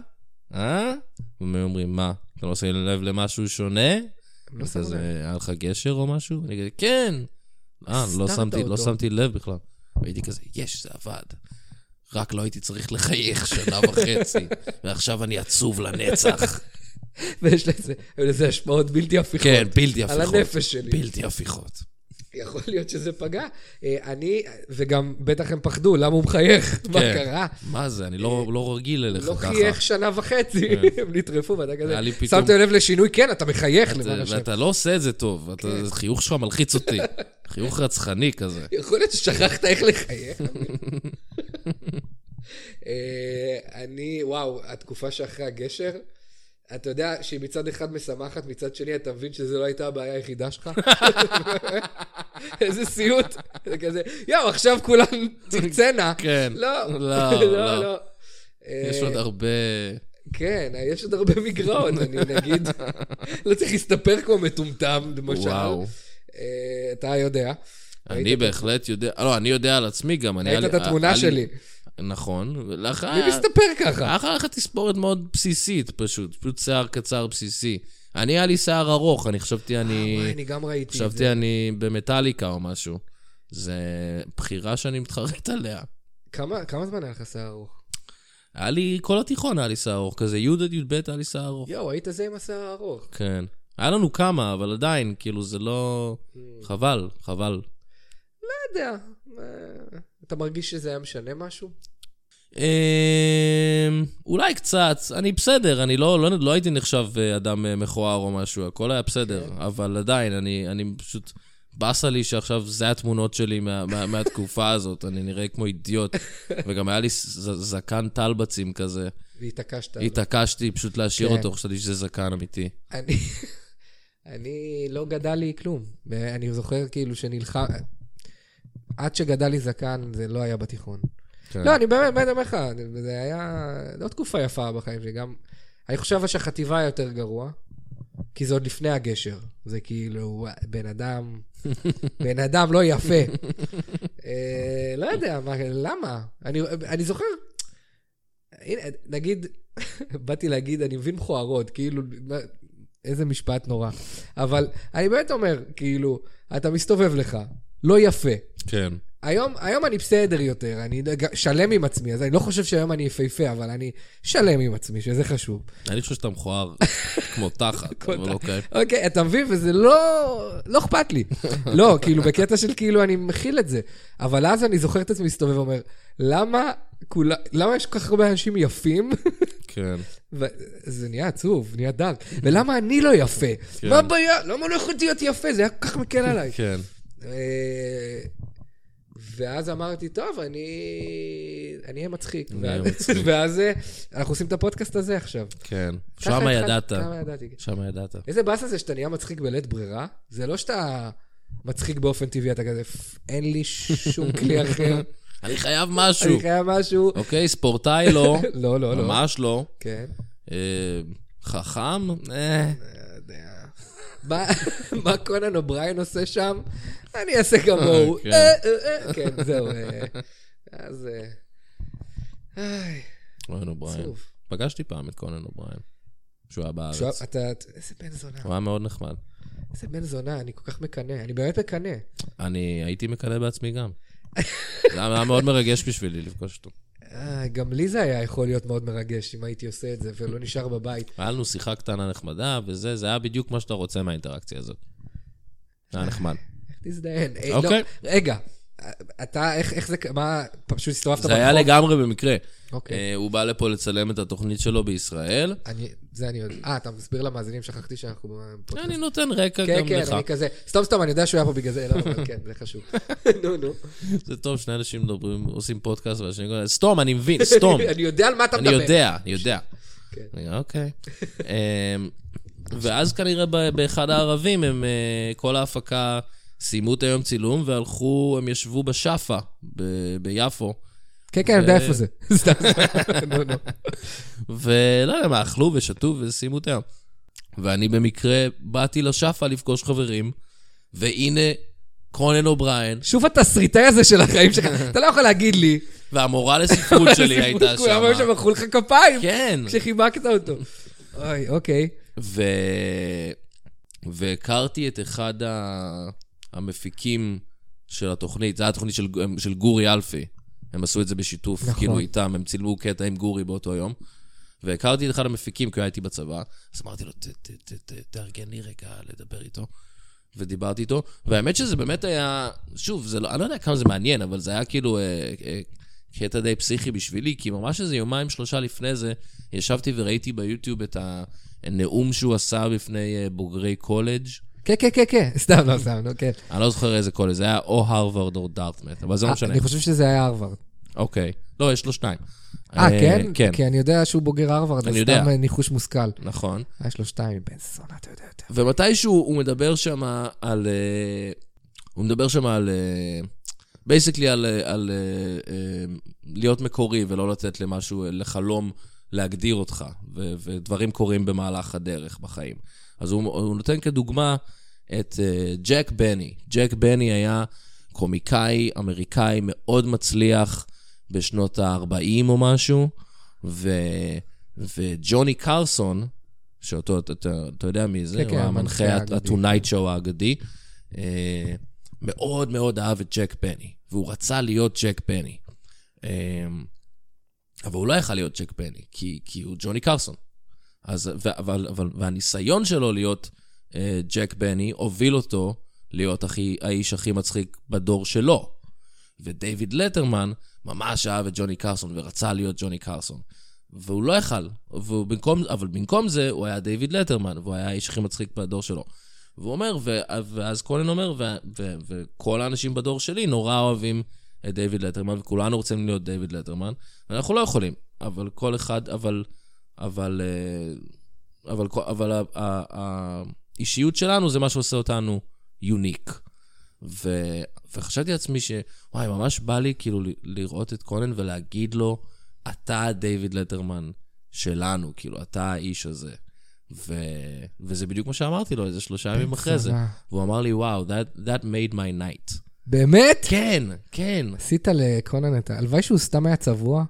C: אה? והם היו אומרים, מה? אתה לא שם לב למשהו שונה?
B: הם לא שמו
C: כזה,
B: לב.
C: היה לך גשר או משהו? אני כזה, כן! אה, לא
B: הסתרת
C: שמתי, לא
B: אותו.
C: שמתי לב בכלל. והייתי כזה, יש, זה עבד. רק לא הייתי צריך לחייך
B: <laughs>
C: שנה וחצי, ועכשיו אני עצוב לנצח.
B: ויש לזה- לזה השפעות בלתי הפיכות.
C: כן, בלתי
B: על
C: הפיכות.
B: הנפש שלי.
C: בלתי הפיכות.
B: יכול להיות שזה פגע. אה, אני, וגם בטח הם פחדו, למה הוא מחייך? מה
C: כן.
B: קרה?
C: מה זה, אני לא לא רגיל אליך
B: לא
C: ככה. כן.
B: חייך שנה וחצי, <laughs> הם נטרפו, ואתה כזה...
C: היה לי פתאום-
B: שמתם לב לשינוי? כן, אתה מחייך
C: זה-
B: למען השם. כן.
C: ואתה לא עושה את זה טוב, אתה- החיוך שלך
B: <laughs>
C: מלחיץ אותי. חיוך רצחני כזה.
B: יכול להיות ששכחת איך
C: <laughs>
B: לחייך. אה, אני, וואו, התקופה שאחרי הגשר, אתה יודע שהיא מצד אחד משמחת, מצד שני אתה מבין שזו לא הייתה הבעיה היחידה
C: <laughs>
B: שלך? איזה סיוט. זה כזה, יואו, עכשיו כולן
C: <laughs>
B: תרצנה.
C: כן.
B: לא, <laughs>
C: לא,
B: לא,
C: לא.
B: לא.
C: יש
B: אה,
C: עוד הרבה...
B: כן, יש עוד הרבה מגרעות, אני <laughs> נגיד. לא צריך להסתפר כמו מטומטם, למשל.
C: וואו.
B: אה, אתה יודע.
C: אני
B: ראית-
C: בהחלט יודע, לא, אני יודע על עצמי גם, אני...
B: ראית
C: היה
B: את
C: לי-
B: התמונה
C: היה לי-
B: שלי.
C: נכון, ולאחר...
B: מי מסתפר ככה?
C: אחר כך תספורת מאוד בסיסית פשוט, פשוט שיער קצר בסיסי. אני, היה לי שיער ארוך, אני חשבתי אני...
B: אה, וואי, אני גם ראיתי את זה.
C: חשבתי אני במטאליקה או משהו. זה בחירה שאני מתחרט עליה.
B: כמה כמה זמן היה לך שיער ארוך?
C: היה לי, כל התיכון היה לי שיער ארוך כזה, י' עד י"ב היה לי שיער ארוך.
B: יואו, היית זה עם השיער הארוך.
C: כן. היה לנו כמה, אבל עדיין, כאילו, זה לא...
B: אה.
C: חבל, חבל.
B: לא יודע. אה, אתה מרגיש שזה היה משנה משהו?
C: אמ, אולי קצת, אני בסדר, אני לא, לא, לא הייתי נחשב אה, אדם אה, מכוער או משהו, הכל היה בסדר,
B: כן.
C: אבל עדיין, אני, אני פשוט... באסה לי שעכשיו זה התמונות שלי מה, מה, מהתקופה <laughs> הזאת, אני נראה
B: <laughs>
C: כמו אידיוט. וגם היה לי ז, זקן טלבצים כזה.
B: והתעקשת. עליו.
C: התעקשתי פשוט להשאיר
B: כן.
C: אותו, חשבתי שזה זקן אמיתי.
B: אני, <laughs> אני לא גדל לי כלום. אני זוכר כאילו שנלחם... עד שגדל לי זקן, זה לא היה בתיכון.
C: כן.
B: לא, אני באמת, באמת אומר לך, אני- זה היה לא תקופה יפה בחיים שלי, גם... אני חושב שהחטיבה היה יותר גרוע, כי זה עוד לפני הגשר. זה כאילו, בן אדם, בן אדם לא יפה. אה, לא יודע, מה, למה? אני, אני זוכר, הנה, נגיד, <laughs> באתי להגיד, אני מבין מכוערות, כאילו, מה- איזה משפט נורא. אבל אני באמת אומר, כאילו, אתה מסתובב לך, לא יפה.
C: כן.
B: היום, היום אני בסדר יותר, אני ג- שלם עם עצמי, אז אני לא חושב שהיום אני יפהפה, אבל אני שלם עם עצמי, שזה חשוב.
C: אני חושב שאתה
B: <laughs>
C: מכוער כמו תחת,
B: כמו
C: אבל אוקיי.
B: אוקיי, אתה מבין? וזה לא... לא אכפת
C: <laughs>
B: לי. לא, כאילו, בקטע של כאילו, אני מכיל את זה. אבל אז אני זוכר את עצמי מסתובב ואומר, למה כולה... למה יש כל כך הרבה אנשים יפים? <laughs>
C: כן.
B: וזה נהיה עצוב, נהיה דארק. ולמה אני לא יפה?
C: כן.
B: מה הבעיה? למה לא יכולתי להיות יפה? זה היה כל כך מקל עליי.
C: כן.
B: אה, ואז אמרתי, טוב, אני אני אהיה מצחיק.
C: אני אהיה
B: ואז-
C: מצחיק.
B: <laughs> ואז אה, אנחנו עושים את הפודקאסט הזה עכשיו.
C: כן.
B: ככה
C: שמה
B: התחלתי-
C: ידעת.
B: כמה ידעתי. כן.
C: שמה ידעת.
B: איזה באסה זה שאתה נהיה מצחיק בלית ברירה? זה לא שאתה מצחיק באופן טבעי, אתה כזה, "פ, אין לי שום כלי
C: <laughs>
B: אחר,
C: אני חייב משהו.
B: אני חייב משהו.
C: אוקיי, ספורטאי לא.
B: לא, <laughs> לא, לא.
C: ממש לא.
B: כן.
C: אה, חכם? אה,
B: לא יודע. מה- מה קונן אובריין עושה שם? אני אעשה כמוהו.
C: כן.
B: אה, אה, אה. כן, זהו. אה, אז... אה, איי,
C: קונן אובריין.
B: עצוב.
C: פגשתי פעם את קונן אובריין, כשהוא היה
B: עכשיו,
C: בארץ.
B: אתה... איזה בן זונה.
C: הוא היה מאוד נחמד.
B: איזה בן זונה, אני כל כך מקנא. אני באמת מקנא.
C: אני הייתי מקנא
B: <laughs>
C: בעצמי גם. זה היה היה מאוד מרגש בשבילי לפגוש אותו.
B: אה, גם לי זה היה יכול להיות מאוד מרגש אם הייתי עושה את זה ולא נשאר בבית.
C: היה לנו שיחה קטנה נחמדה, וזה, זה היה בדיוק מה שאתה רוצה מהאינטראקציה הזאת. זה היה נחמד.
B: תזדיין. אה,
C: אוקיי.
B: לא, רגע, אתה, איך איך זה, ק- מה, פשוט הסתובבת
C: זה היה לגמרי במקרה.
B: אוקיי.
C: אה, הוא בא לפה לצלם את התוכנית שלו בישראל.
B: אני- זה אני יודע. אה, אתה מסביר למאזינים, שכחתי שאנחנו בפודקאסט.
C: אני נותן רקע
B: כן,
C: גם
B: כן,
C: לך.
B: אני כזה, סתום סתום, אני יודע שהוא היה פה בגלל זה, לא, אבל כן, זה חשוב. <laughs> נו, נו.
C: זה טוב, שני אנשים מדברים, עושים פודקאסט, והשני קורא, סתום, אני מבין, סתום.
B: <laughs> אני יודע על מה אתה
C: אני
B: מדבר.
C: יודע, אני יודע.
B: כן.
C: אני, אוקיי. אמ, ואז כנראה ב- באחד הערבים, הם, אה, כל ההפקה סיימו את היום צילום והלכו, הם ישבו בשאפה ב- ביפו.
B: כן, כן, אני יודע איפה זה. <laughs> סתם. נו, נו.
C: ולא יודע מה, אכלו ושתו וסיימו את היום. ואני במקרה באתי לשאפה לפגוש חברים, והנה קונן אובריין,
B: שוב התסריטאי הזה של החיים שלך, <laughs> אתה לא יכול להגיד לי.
C: והמורה
B: <laughs>
C: לספרות שלי הייתה
B: כולם היו שם
C: שם.
B: מחאו לך כפיים.
C: כן.
B: כשחיבקת אותו. אוי, אוקיי.
C: ו... והכרתי את אחד ה... המפיקים של התוכנית, זו הייתה התוכנית של, של גורי אלפי. הם עשו את זה בשיתוף,
B: נכון.
C: נכון. כאילו איתם, הם צילמו קטע עם גורי באותו יום. והכרתי את אחד המפיקים, כי הייתי בצבא, אז אמרתי לו, "ת- ת- ת- ת- תארגן לי רגע לדבר איתו. ודיברתי איתו, והאמת שזה באמת היה, שוב, זה לא, אני לא יודע כמה זה מעניין, אבל זה היה כאילו אה, אה, קטע די פסיכי בשבילי, כי ממש איזה יומיים, שלושה לפני זה, ישבתי וראיתי ביוטיוב את הנאום שהוא עשה בפני אה, בוגרי קולג'.
B: כן, כן, כן, כן. סתם, לא, סתם, נו, כן.
C: אני לא זוכר איזה קולג', זה היה או הרווארד או דארטמט, אבל זה לא משנה.
B: אה, אני חושב שזה היה הרווארד.
C: אוקיי. לא, יש לו שניים.
B: אה, כן?
C: כן,
B: כי אני יודע שהוא בוגר הרווארד, אז
C: אני יודע.
B: סתם אה, ניחוש מושכל.
C: נכון.
B: אה, יש לו שתיים, בן זונה, אתה יודע יותר.
C: ומתישהו הוא מדבר שם על... אה, הוא מדבר שם על... בייסקלי על, אה, על אה, אה, להיות מקורי ולא לתת למשהו, אה, לחלום להגדיר אותך, ו, ודברים קורים במהלך הדרך בחיים. אז הוא, הוא נותן כדוגמה את אה, ג'ק בני. ג'ק בני היה קומיקאי אמריקאי מאוד מצליח, בשנות ה-40 או משהו, ו... וג'וני קרסון, שאותו אתה, אתה, אתה יודע מי זה,
B: כן,
C: הוא
B: כן,
C: המנחה
B: המנחה
C: ה-Tonight Show האגדי, אה, מאוד מאוד אהב את ג'ק פני, והוא רצה להיות ג'ק פני. אה, אבל הוא לא יכל להיות ג'ק פני, כי, כי הוא ג'וני קרסון. אז, ו- אבל, אבל, והניסיון שלו להיות אה, ג'ק בני הוביל אותו להיות הכי, האיש הכי מצחיק בדור שלו. ודייוויד לטרמן ממש אהב את ג'וני קרסון ורצה להיות ג'וני קרסון. והוא לא יכל, והוא במקום, אבל במקום זה הוא היה דיוויד לטרמן, והוא היה האיש הכי מצחיק בדור שלו. והוא אומר, ו, ואז קולן אומר, ו, ו, וכל האנשים בדור שלי נורא אוהבים את דיוויד לטרמן, וכולנו רוצים להיות דיוויד לטרמן, ואנחנו לא יכולים, אבל כל אחד, אבל, אבל, אה, אבל, כל- אבל ה- ה- ה- האישיות שלנו זה מה שעושה אותנו יוניק. ו... וחשבתי לעצמי ש... וואי, ממש בא לי כאילו ל- לראות את קונן ולהגיד לו, אתה דייוויד לטרמן שלנו, כאילו, אתה האיש הזה. ו... וזה בדיוק מה שאמרתי לו איזה שלושה ימים אחרי זה.
B: צרה.
C: והוא אמר לי, וואו, that, that made my night.
B: באמת?
C: כן, כן.
B: עשית לקונן את ה... הלוואי שהוא סתם היה צבוע.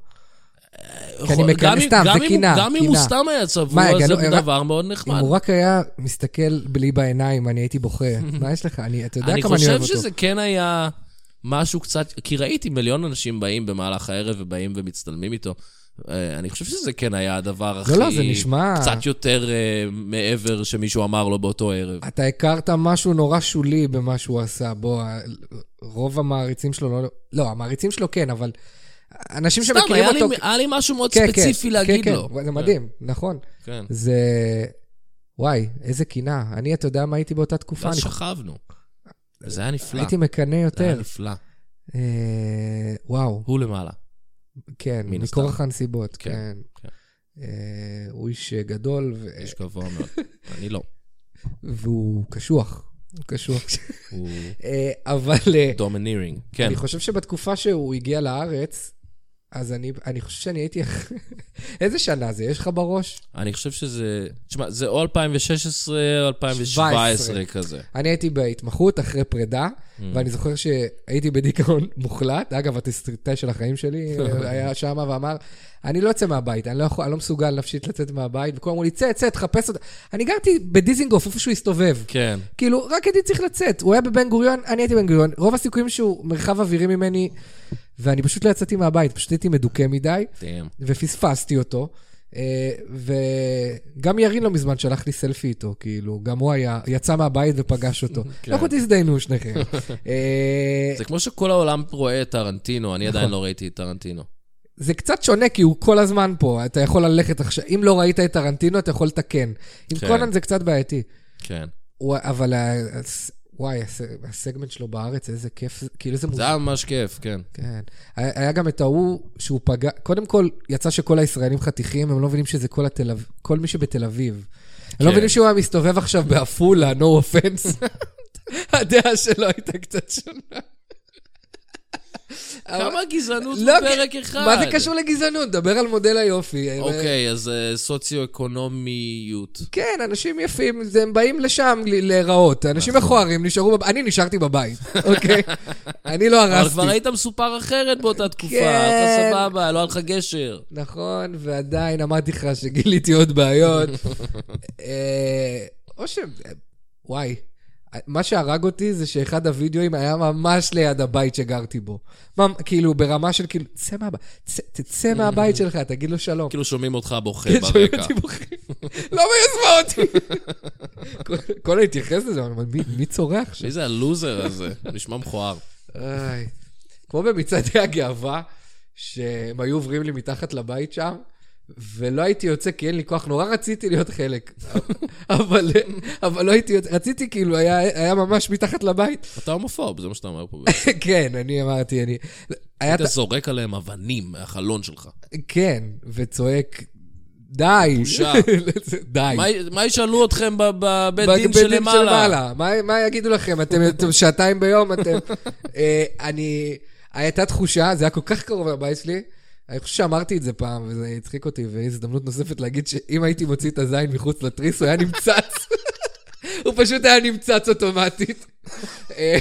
B: כי
C: יכול-
B: אני
C: גם
B: מקנא
C: אם-
B: סתם,
C: גם
B: זה
C: אם הוא-
B: קינה.
C: גם אם הוא
B: קינה.
C: סתם היה
B: מה,
C: צבוע, זה
B: הגנו- הרא-
C: דבר מאוד נחמד.
B: אם הוא רק היה מסתכל בלי בעיניים, אני הייתי
C: <laughs>
B: בוכה. מה יש לך? אני, אתה יודע
C: אני
B: כמה אני אוהב
C: חושב
B: אותו.
C: שזה כן היה משהו קצת, כי ראיתי מיליון אנשים באים במהלך הערב ובאים ומצטלמים איתו. אה, אני חושב שזה כן היה הדבר הכי...
B: לא, לא, זה נשמע...
C: קצת יותר אה, מעבר שמישהו אמר לו באותו ערב.
B: אתה הכרת משהו נורא שולי במה שהוא עשה. בוא, ה- רוב המעריצים שלו לא... לא, המעריצים שלו כן, אבל אנשים
C: סתם,
B: שמכירים
C: היה לי-
B: אותו...
C: היה לי משהו מאוד
B: כן, כן,
C: ספציפי להגיד
B: כן,
C: לו.
B: כן, זה מדהים, נכון.
C: כן.
B: זה... וואי, איזה קינה. אני, אתה יודע מה הייתי באותה תקופה?
C: ואז
B: אני
C: שכבנו. זה היה נפלא.
B: הייתי מקנא
C: זה היה
B: יותר.
C: נפלא.
B: אה, וואו,
C: הוא למעלה.
B: כן,
C: מן הסתם.
B: מכורח הנסיבות,
C: כן,
B: כן.
C: כן.
B: אה, הוא איש גדול, ו-
C: איש גבוה
B: <laughs>
C: מאוד. אני לא.
B: והוא קשוח. הוא קשוח.
C: הוא
B: אה, אבל... אה,
C: דומנירינג. כן.
B: אני חושב שבתקופה שהוא הגיע לארץ, אז אני, אני חושב שאני הייתי... <laughs> איזה שנה זה? יש לך בראש?
C: אני חושב שזה... תשמע, זה או 2016 או 2017 כזה.
B: אני הייתי בהתמחות אחרי פרידה, ואני זוכר שהייתי בדיכאון <laughs> מוחלט. אגב, התסריטאי של החיים שלי אה, היה שם ואמר, אני לא יוצא מהבית, אני לא, יכול, אני לא מסוגל נפשית לצאת מהבית, וכולם אמרו לי, צא, צא, תחפש אותה. אני גרתי בדיזינגוף, איפה שהוא הסתובב.
C: כן.
B: כאילו, רק הייתי צריך לצאת. הוא היה בבן גוריון, אני הייתי בבן גוריון. רוב הסיכויים שהוא מרחב אווירי ממני, ואני פשוט לא יצאתי מהבית, פשוט הייתי מדוכא מדי.
C: damn.
B: ופספסתי אותו. אה, וגם ירין לא מזמן שלח לי סלפי איתו, כאילו, גם הוא היה, יצא מהבית ופגש
C: <laughs>
B: אותו. לכו תזדיינו שניכם. אה,
C: כן. זה כמו שכל העולם רואה את טרנטינו,
B: נכון.
C: אני עדיין לא ראיתי את טרנטינו.
B: זה קצת שונה, כי הוא כל הזמן פה, אתה יכול ללכת עכשיו, אם לא ראית את טרנטינו, אתה יכול לתקן. עם
C: כן.
B: קונן זה קצת בעייתי.
C: כן.
B: הוא- אבל ה- הס- וואי, הס- הסגמנט שלו בארץ, איזה כיף, זה- כאילו איזה
C: זה
B: מוזר.
C: היה ממש כיף, כן.
B: כן. היה היה גם את ההוא שהוא פגע, קודם כל, יצא שכל הישראלים חתיכים, הם לא מבינים שזה כל התל אביב, כל מי שבתל אביב. הם לא מבינים שהוא היה מסתובב עכשיו בעפולה, no offense. <laughs> הדעה שלו הייתה קצת שונה. אבל-
C: כמה גזענות
B: לא,
C: בפרק אחד?
B: מה זה קשור לגזענות? דבר על מודל היופי.
C: אוקיי, אז אה, סוציו-אקונומיות.
B: כן, אנשים יפים, זה- הם באים לשם ל- להיראות.
C: נכון.
B: אנשים מכוערים נשארו בבית. אני נשארתי בבית,
C: <laughs>
B: אוקיי? אני לא
C: אבל כבר
B: הרסתי.
C: היית מסופר אחרת באותה תקופה, אתה
B: כן.
C: סבבה, לא היה לך גשר.
B: נכון, ועדיין אמרתי לך שגיליתי עוד
C: <laughs>
B: בעיות. אה, או ש... וואי. מה שהרג אותי זה שאחד הוידאוים היה ממש ליד הבית שגרתי בו. ממ- כאילו, ברמה של כאילו, צא מהבית, צא- תצא
C: <laughs>
B: מהבית שלך, תגיד לו שלום.
C: כאילו שומעים אותך בוכה
B: כן, שומעים
C: ברקע.
B: אותי בוכים. <laughs> לא מיוזמה
C: <laughs>
B: אותי. כל- כל התייחס לזה, אבל מי- מי צורח שם?
C: מי זה הלוזר הזה? <laughs> נשמע מכוער.
B: איי. כמו במצעדי הגאווה, שהם היו עוברים לי מתחת לבית שם, ולא הייתי יוצא כי אין לי כוח, נורא רציתי להיות חלק. <laughs> אבל, אבל לא הייתי יוצא, רציתי כאילו, היה, היה ממש מתחת לבית. <laughs>
C: אתה הומופוב, זה מה שאתה אומר פה. בעצם.
B: כן, אני אמרתי, אני... היה,
C: היית זורק עליהם אבנים מהחלון שלך.
B: כן, וצועק, די.
C: בושה.
B: <laughs> די.
C: מה- מה ישאלו אתכם ב- בבית
B: בית
C: דין שלמעלה?
B: מה, מה יגידו לכם? אתם, אתם שעתיים ביום,
C: <laughs>
B: אתם... אה, אני... הייתה תחושה, זה היה כל כך קרוב לבית שלי, אני חושב שאמרתי את זה פעם, וזה הצחיק אותי, והזדמנות נוספת להגיד שאם הייתי מוציא את הזין מחוץ לתריס, הוא היה נמצץ. <laughs> הוא פשוט <laughs> היה נמצץ אוטומטית. אה,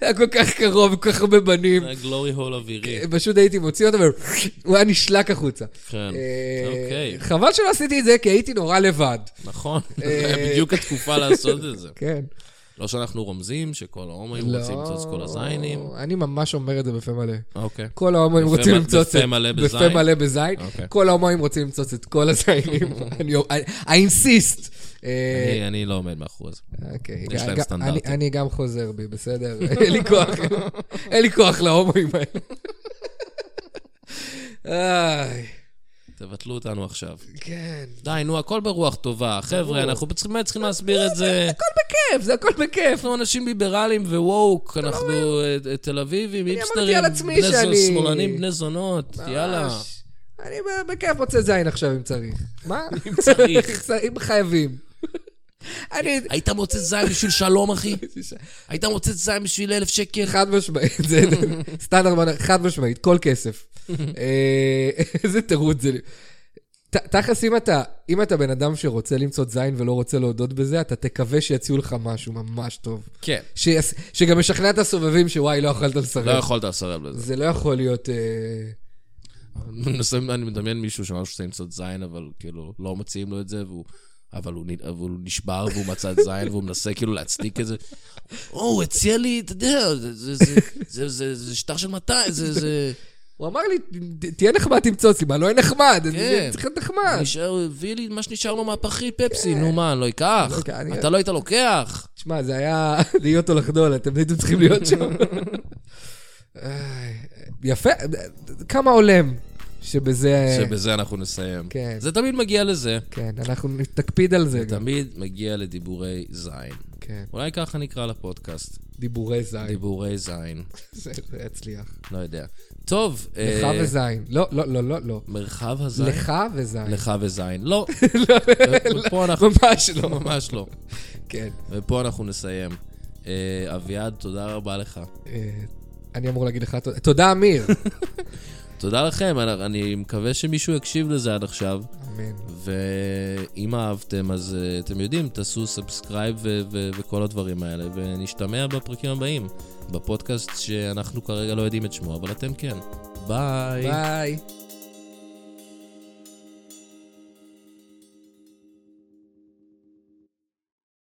B: היה כל כך קרוב, כל כך הרבה בנים.
C: זה היה גלורי הול אווירי.
B: פשוט הייתי מוציא אותו, והוא היה נשלק החוצה.
C: כן,
B: אה,
C: אוקיי,
B: חבל שלא עשיתי את זה, כי הייתי נורא לבד.
C: נכון. <laughs> זה
B: אה,
C: היה בדיוק התקופה לעשות את זה.
B: כן.
C: לא שאנחנו רומזים שכל ההומואים
B: לא.
C: רוצים לצוץ כל הזיינים.
B: אני ממש אומר את זה בפה מלא.
C: אוקיי.
B: כל ההומואים
C: בפה
B: רוצים
C: מ-
B: למצוץ את...
C: בפה מלא בזין?
B: בפה מלא בזין.
C: אוקיי.
B: כל ההומואים רוצים למצוץ את כל
C: <laughs>
B: הזיינים. אני- I- I insist. אה,
C: אני- אני לא עומד מאחורי זה.
B: אוקיי.
C: יש להם
B: גם-
C: סטנדרטים.
B: אני- אני גם חוזר בי, בסדר? אין לי כוח. אין לי כוח להומואים האלה. איי,
C: תבטלו אותנו עכשיו.
B: כן.
C: די, נו, הכל ברוח טובה. חבר'ה, אנחנו צריכים- באמת צריכים להסביר את זה.
B: כיף, זה <laughs> הכל בכיף. לא
C: אנחנו אנשים ליברליים וווק, אנחנו אה, אה, תל אביבים,
B: אמרתי
C: היפסטרים,
B: על עצמי
C: בני זו-
B: שאני-
C: שמאלנים, בני זונות, יאללה.
B: ממש. אני ב- בכיף רוצה זין עכשיו אם צריך. מה?
C: אם צריך.
B: <laughs> אם חייבים.
C: <laughs>
B: אני...
C: היית מוצא זין בשביל שלום,
B: <laughs>
C: אחי? היית מוצא זין בשביל אלף שקל?
B: חד משמעית, זה סטנדרט, מנה- חד משמעית, כל כסף. אה, איזה תירוץ זה. ת- תכלס, אם אתה, אם אתה בן אדם שרוצה למצוא זין ולא רוצה להודות בזה, אתה תקווה שיציעו לך משהו ממש טוב.
C: כן.
B: שיס, שגם ישכנע את הסובבים שוואי, לא יכולת לסרב.
C: לא יכולת לסרב לזה.
B: זה לא יכול להיות... אה,
C: אני מנסה- אני מדמיין מישהו שאמר שהוא רוצה למצוא זין, אבל כאילו, לא מציעים לו את זה, והוא... אבל הוא, נ- אבל הוא נשבר והוא מצא את זין והוא מנסה כאילו להצדיק את זה. או, הוא הציע לי, אתה יודע, זה- זה- זה- זה- זה זה שטר של 200, זה- זה...
B: הוא אמר לי, "ת- תהיה נחמד, תמצוא סיבה, לא יהיה נחמד, אני-
C: כן.
B: צריך להיות נחמד.
C: נשאר, הוא הביא לי מה שנשאר לו מהפחית פפסי, נו מה, אני לא אקח?
B: לא אקח, אני-
C: אתה לא היית לוקח?
B: תשמע, זה היה <laughs> להיות או לחדול, אתם הייתם צריכים להיות שם.
C: <laughs>
B: איי, יפה, כמה הולם שבזה...
C: שבזה אנחנו נסיים.
B: כן.
C: זה תמיד מגיע לזה.
B: כן, אנחנו נקפיד על זה גם.
C: תמיד מגיע לדיבורי זין.
B: כן,
C: אולי ככה נקרא לפודקאסט,
B: דיבורי זין,
C: דיבורי זין,
B: <laughs> זה זה יצליח.
C: לא יודע. טוב,
B: לך
C: אה,
B: וזין. לא, לא, לא, לא, לא.
C: מרחב הזין.
B: לך וזין. <laughs>
C: לך וזין. לא. ופה אנחנו...
B: ממש לא.
C: ממש לא.
B: כן.
C: ופה אנחנו נסיים. אה, אביעד, תודה רבה לך.
B: אה, אני אמור להגיד לך תודה. תודה,
C: <laughs>
B: אמיר.
C: תודה לכם, אני- אני מקווה שמישהו יקשיב לזה עד עכשיו.
B: אמן.
C: ואם אהבתם, אז אה, אתם יודעים, תעשו סאבסקרייב ו- ו- וכל הדברים האלה, ונשתמע בפרקים הבאים, בפודקאסט שאנחנו כרגע לא יודעים את שמו, אבל אתם כן. ביי.
B: ביי.